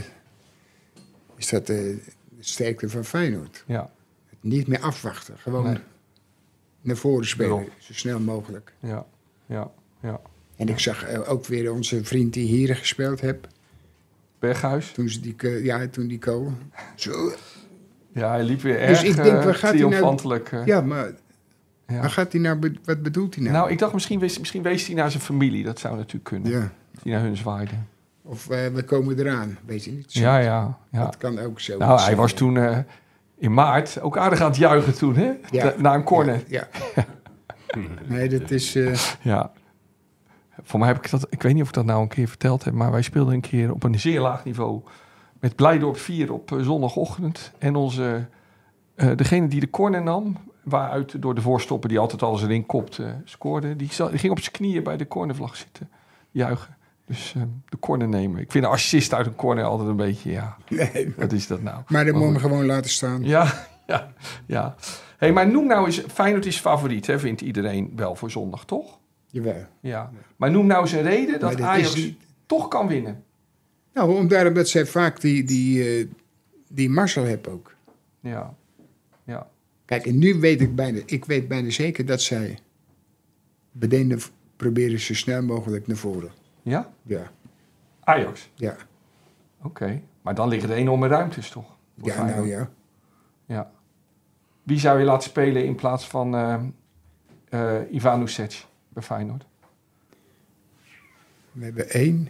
C: is dat eh, de sterkte van Feyenoord?
B: Ja,
C: Niet meer afwachten. Gewoon
B: Nee.
C: naar voren spelen.
B: Daarom.
C: Zo snel mogelijk.
B: ja, ja, ja.
C: En ik zag eh, ook weer onze vriend die hier gespeeld heeft.
B: Berghuis.
C: Toen ze die, ke- ja, toen die kool. Zo,
B: Ja, hij liep weer erg
C: Dus ik denk,
B: eh,
C: waar gaat hij nou-
B: triomfantelijk. eh.
C: ja, maar
B: Ja.
C: waar gaat hij nou, be- wat bedoelt hij nou?
B: Nou, ik dacht misschien wees, misschien wees hij naar zijn familie. Dat zou natuurlijk kunnen.
C: ja.
B: Dat hij naar hun zwaaide.
C: Of eh, we komen eraan, weet je niet. Zo-
B: Ja, ja, ja.
C: Dat kan ook zo.
B: Nou, hij was toen eh, in maart ook aardig aan het juichen toen, hè?
C: Ja.
B: Na een corner.
C: Ja. nee, dat is... eh,
B: Ja. Voor mij heb ik dat, ik weet niet of ik dat nou een keer verteld heb, maar wij speelden een keer op een zeer laag niveau met Blijdorp 4 op eh, zondagochtend. En onze, eh, degene die de corner nam, waaruit door de voorstopper die altijd alles erin kopt, eh, scoorde, die, zat- die ging op zijn knieën bij de cornervlag zitten juichen. Dus eh, de corner nemen. Ik vind een assist uit een corner altijd een beetje, ja,
C: nee.
B: wat is dat nou?
C: Maar dat moet
B: goed.
C: je hem gewoon laten staan.
B: Ja, ja, ja. hey, maar noem nou eens, Feyenoord is favoriet, hè, vindt iedereen wel voor zondag, toch?
C: Jawel.
B: Ja, maar noem nou eens een reden dat
C: Maar dit
B: Ajax
C: is niet-
B: toch kan winnen.
C: Nou, omdat dat zij vaak die, die, eh, die Marcel hebben ook.
B: Ja, ja,
C: Kijk, en nu weet ik bijna, ik weet bijna zeker dat zij... Bedenen proberen zo snel mogelijk naar voren.
B: ja.
C: Ja,
B: Ajax,
C: ja.
B: oké. Maar dan liggen er enorme ruimtes toch? voor
C: Ja,
B: Feyenoord?
C: nou ja.
B: Ja. Wie zou je laten spelen in plaats van eh eh Ivan Ušić bij Feyenoord?
C: We hebben één.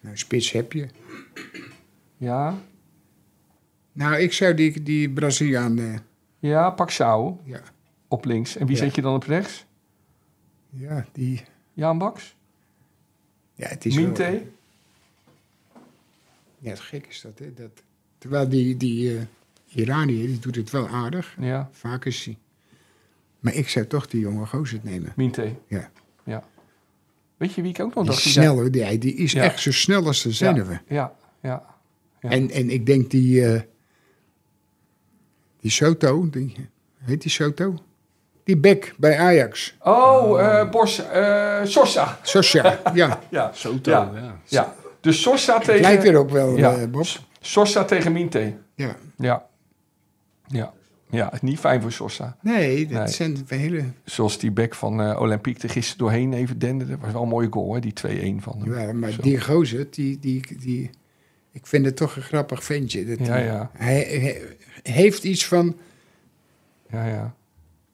C: Nou, spits heb je.
B: Ja,
C: Nou, ik zou die, die Braziliaan... eh,
B: ja, Paxao
C: ja.
B: op links. En wie
C: Ja.
B: zet je dan op rechts?
C: ja, die...
B: Jaan Baks?
C: Ja, het is wel-
B: Minte?
C: Ja, het gek is dat, hè. Dat, terwijl die, die eh, Iranier, die doet het wel aardig.
B: Ja,
C: Vaak is hij... Maar ik zou toch die jonge gozer nemen.
B: Minte.
C: Ja.
B: ja. Weet je wie ik ook nog
C: Die
B: dacht?
C: is
B: Die
C: snel, hoor. Die, die is
B: Ja.
C: echt zo snel als de zijn we.
B: zei- Ja, ja, Ja.
C: En, en ik denk die... eh, die Soto, die, heet die Soto? Die Beck bij Ajax.
B: Oh, eh Bos, eh Sosa.
C: Sosja,
B: [LAUGHS]
C: ja.
B: Ja,
E: Soto,
B: Ja.
E: oh, ja.
B: ja. Dus Sosa
C: Het lijkt
B: tegen,
C: erop wel,
B: Ja.
C: eh, Bob.
B: Sosa tegen Minte.
C: Ja.
B: Ja. Ja. Ja, het is niet fijn voor Sosa.
C: Nee, dat
B: Nee.
C: zijn hele...
B: Zoals die back van eh Olympique er gisteren doorheen even denderde. Was wel een mooie goal, hè? Die 2-1 van hem.
C: Ja, maar
B: Zo.
C: die gozer, die, die, die, ik vind het toch een grappig ventje. Dat
B: Ja, ja.
C: Hij, hij heeft iets van
B: Ja, ja.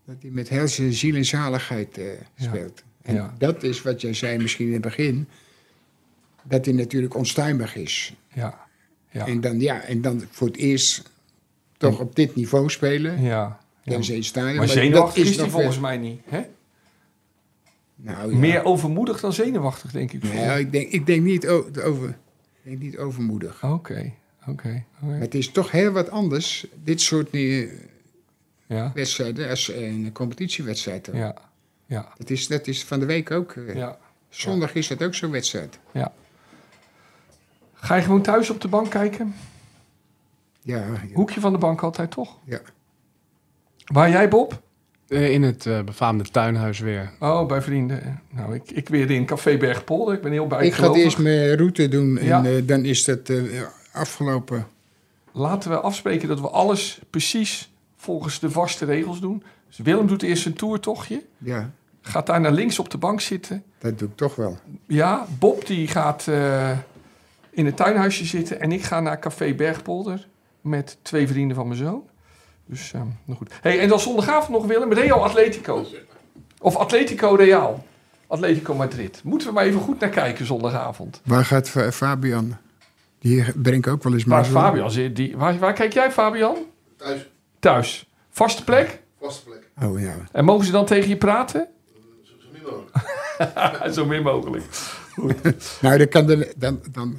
C: dat hij met heel zijn ziel en zaligheid eh, speelt. En
B: Ja.
C: dat is wat jij zei misschien in het begin. Dat hij natuurlijk onstuimig is.
B: Ja. Ja.
C: En, dan, ja, en dan voor het eerst toch op dit niveau spelen.
B: ja. ja.
C: Dan zijn stadion.
B: Maar
C: dat
B: zenuwachtig is
C: nog
B: hij
C: wel-
B: volgens mij niet. Hè?
C: Nou, ja.
B: Meer overmoedig dan zenuwachtig, denk ik.
C: Nou, ik, denk, ik denk niet o- over, ik denk niet overmoedig.
B: Oké, oké. oké.
C: Maar het is toch heel wat anders, dit soort eh,
B: Ja,
C: wedstrijden als eh, een competitiewedstrijd. dan.
B: ja, ja,
C: Dat, is, dat is van de week ook. eh,
B: ja,
C: Zondag is dat ook zo'n wedstrijd.
B: ja. Ga je gewoon thuis op de bank kijken?
C: Ja, ja,
B: Hoekje van de bank altijd, toch?
C: ja.
B: Waar jij, Bob?
E: Eh, In het eh, befaamde tuinhuis weer.
B: Oh, bij vrienden. Nou, ik, ik weer in Café Bergpolder. Ik ben heel
C: Ik ga
B: bijgelovig.
C: eerst mijn route doen en
B: Ja.
C: eh, dan is dat eh, afgelopen.
B: Laten we afspreken dat we alles precies volgens de vaste regels doen. Dus Willem doet eerst een toertochtje.
C: Ja,
B: Gaat daar naar links op de bank zitten.
C: dat doe ik toch wel.
B: Ja, Bob die gaat eh, in het tuinhuisje zitten. En ik ga naar Café Bergpolder met twee vrienden van mijn zoon. Dus, ehm nou goed. Hey, en dan zondagavond nog, Willem, Real Atletico. Of Atletico Real. Atletico Madrid. Moeten we maar even goed naar kijken zondagavond.
C: Waar gaat Fa- Fabian? Die breng ik ook wel eens
B: Waar
C: mee.
B: is Fabian? Zit Die, waar, waar kijk jij, Fabian?
I: Thuis,
B: Thuis. Vaste plek?
I: vaste plek.
C: Oh ja.
B: En mogen ze dan tegen je praten?
I: Zo zo min mogelijk.
B: [LAUGHS] Zo min mogelijk.
C: Nou, dan kan de, dan, dan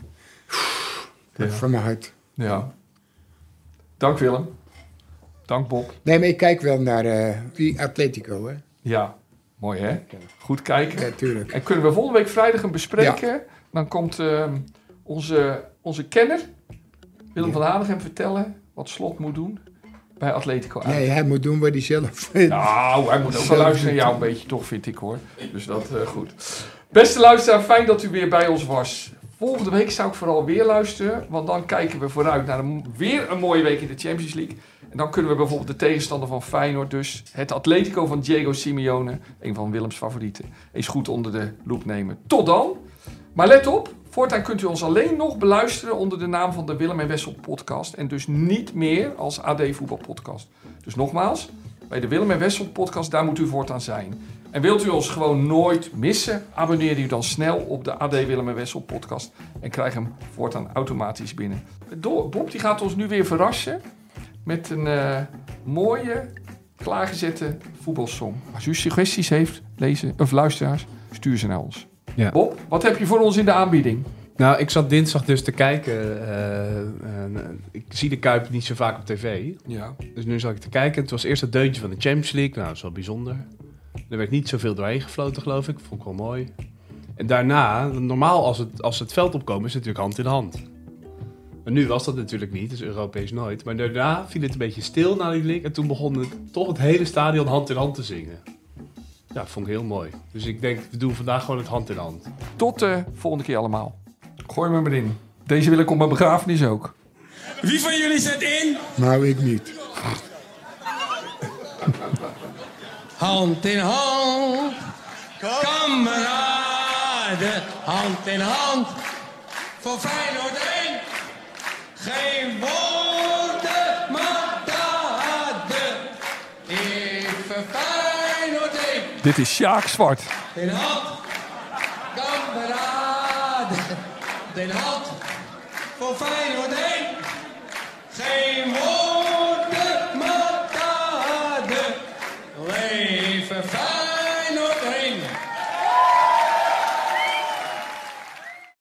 C: van mijn hart.
B: Ja. Dank Willem. Dank Bob.
C: Nee, maar ik kijk wel naar eh, die Atletico, hè?
B: Ja. Mooi hè? Goed kijken.
C: Ja, tuurlijk.
B: En kunnen we volgende week vrijdag een bespreken? Dan komt ehm, onze, onze kenner, Willem van Hanegem, vertellen wat Slot moet doen bij Atletico uit.
C: Nee, hij moet doen wat hij zelf [LAUGHS] vindt.
B: Nou, hij moet ook wel
C: Zelf
B: luisteren naar jou een beetje, toch vind ik hoor. Dus dat eh, goed. Beste luisteraar, fijn dat u weer bij ons was. Volgende week zou ik vooral weer luisteren, want dan kijken we vooruit naar een, weer een mooie week in de Champions League. En dan kunnen we bijvoorbeeld de tegenstander van Feyenoord, dus het Atletico van Diego Simeone, een van Willems favorieten, eens goed onder de loep nemen. Tot dan. Maar let op, voortaan kunt u ons alleen nog beluisteren onder de naam van de Willem en Wessel podcast en dus niet meer als AD Voetbal podcast. Dus nogmaals, bij de Willem en Wessel podcast, daar moet u voortaan zijn. En wilt u ons gewoon nooit missen, abonneer u dan snel op de AD Willem en Wessel podcast en krijg hem voortaan automatisch binnen. Do- Bob die gaat ons nu weer verrassen met een eh, mooie, klaargezette voetbalsom. Als u suggesties heeft, lezen, of luisteraars, stuur ze naar ons.
E: Ja.
B: Bob, wat heb je voor ons in de aanbieding?
E: Nou, ik zat dinsdag dus te kijken. eh, en, eh, ik zie de Kuip niet zo vaak op tv.
B: Ja.
E: Dus nu zat ik te kijken. Het was eerst het deuntje van de Champions League. Nou, dat is wel bijzonder. Er werd niet zoveel doorheen gefloten, geloof ik. Vond ik wel mooi. En daarna, normaal als, het, als ze het veld opkomen, is het natuurlijk hand in hand. Maar nu was dat natuurlijk niet, dus Europees nooit. Maar daarna viel het een beetje stil na die link. En toen begon het, toch het hele stadion hand in hand te zingen. Ja, dat vond ik heel mooi. Dus ik denk, we doen vandaag gewoon het hand in hand.
B: Tot de volgende keer allemaal. Gooi me maar in. Deze wil ik op mijn begrafenis ook.
J: Wie van jullie zet in?
C: Nou, ik niet.
J: Hand in hand. Kameraden, hand in hand. Voor Feyenoord 1. Geen woorden, maar daden. Even Feyenoord
B: Dit is Sjaak Zwart.
J: 1. In hand. Kameraden, in hand. Voor Feyenoord 1. Geen woorden, maar daden. Leven Feyenoord heen.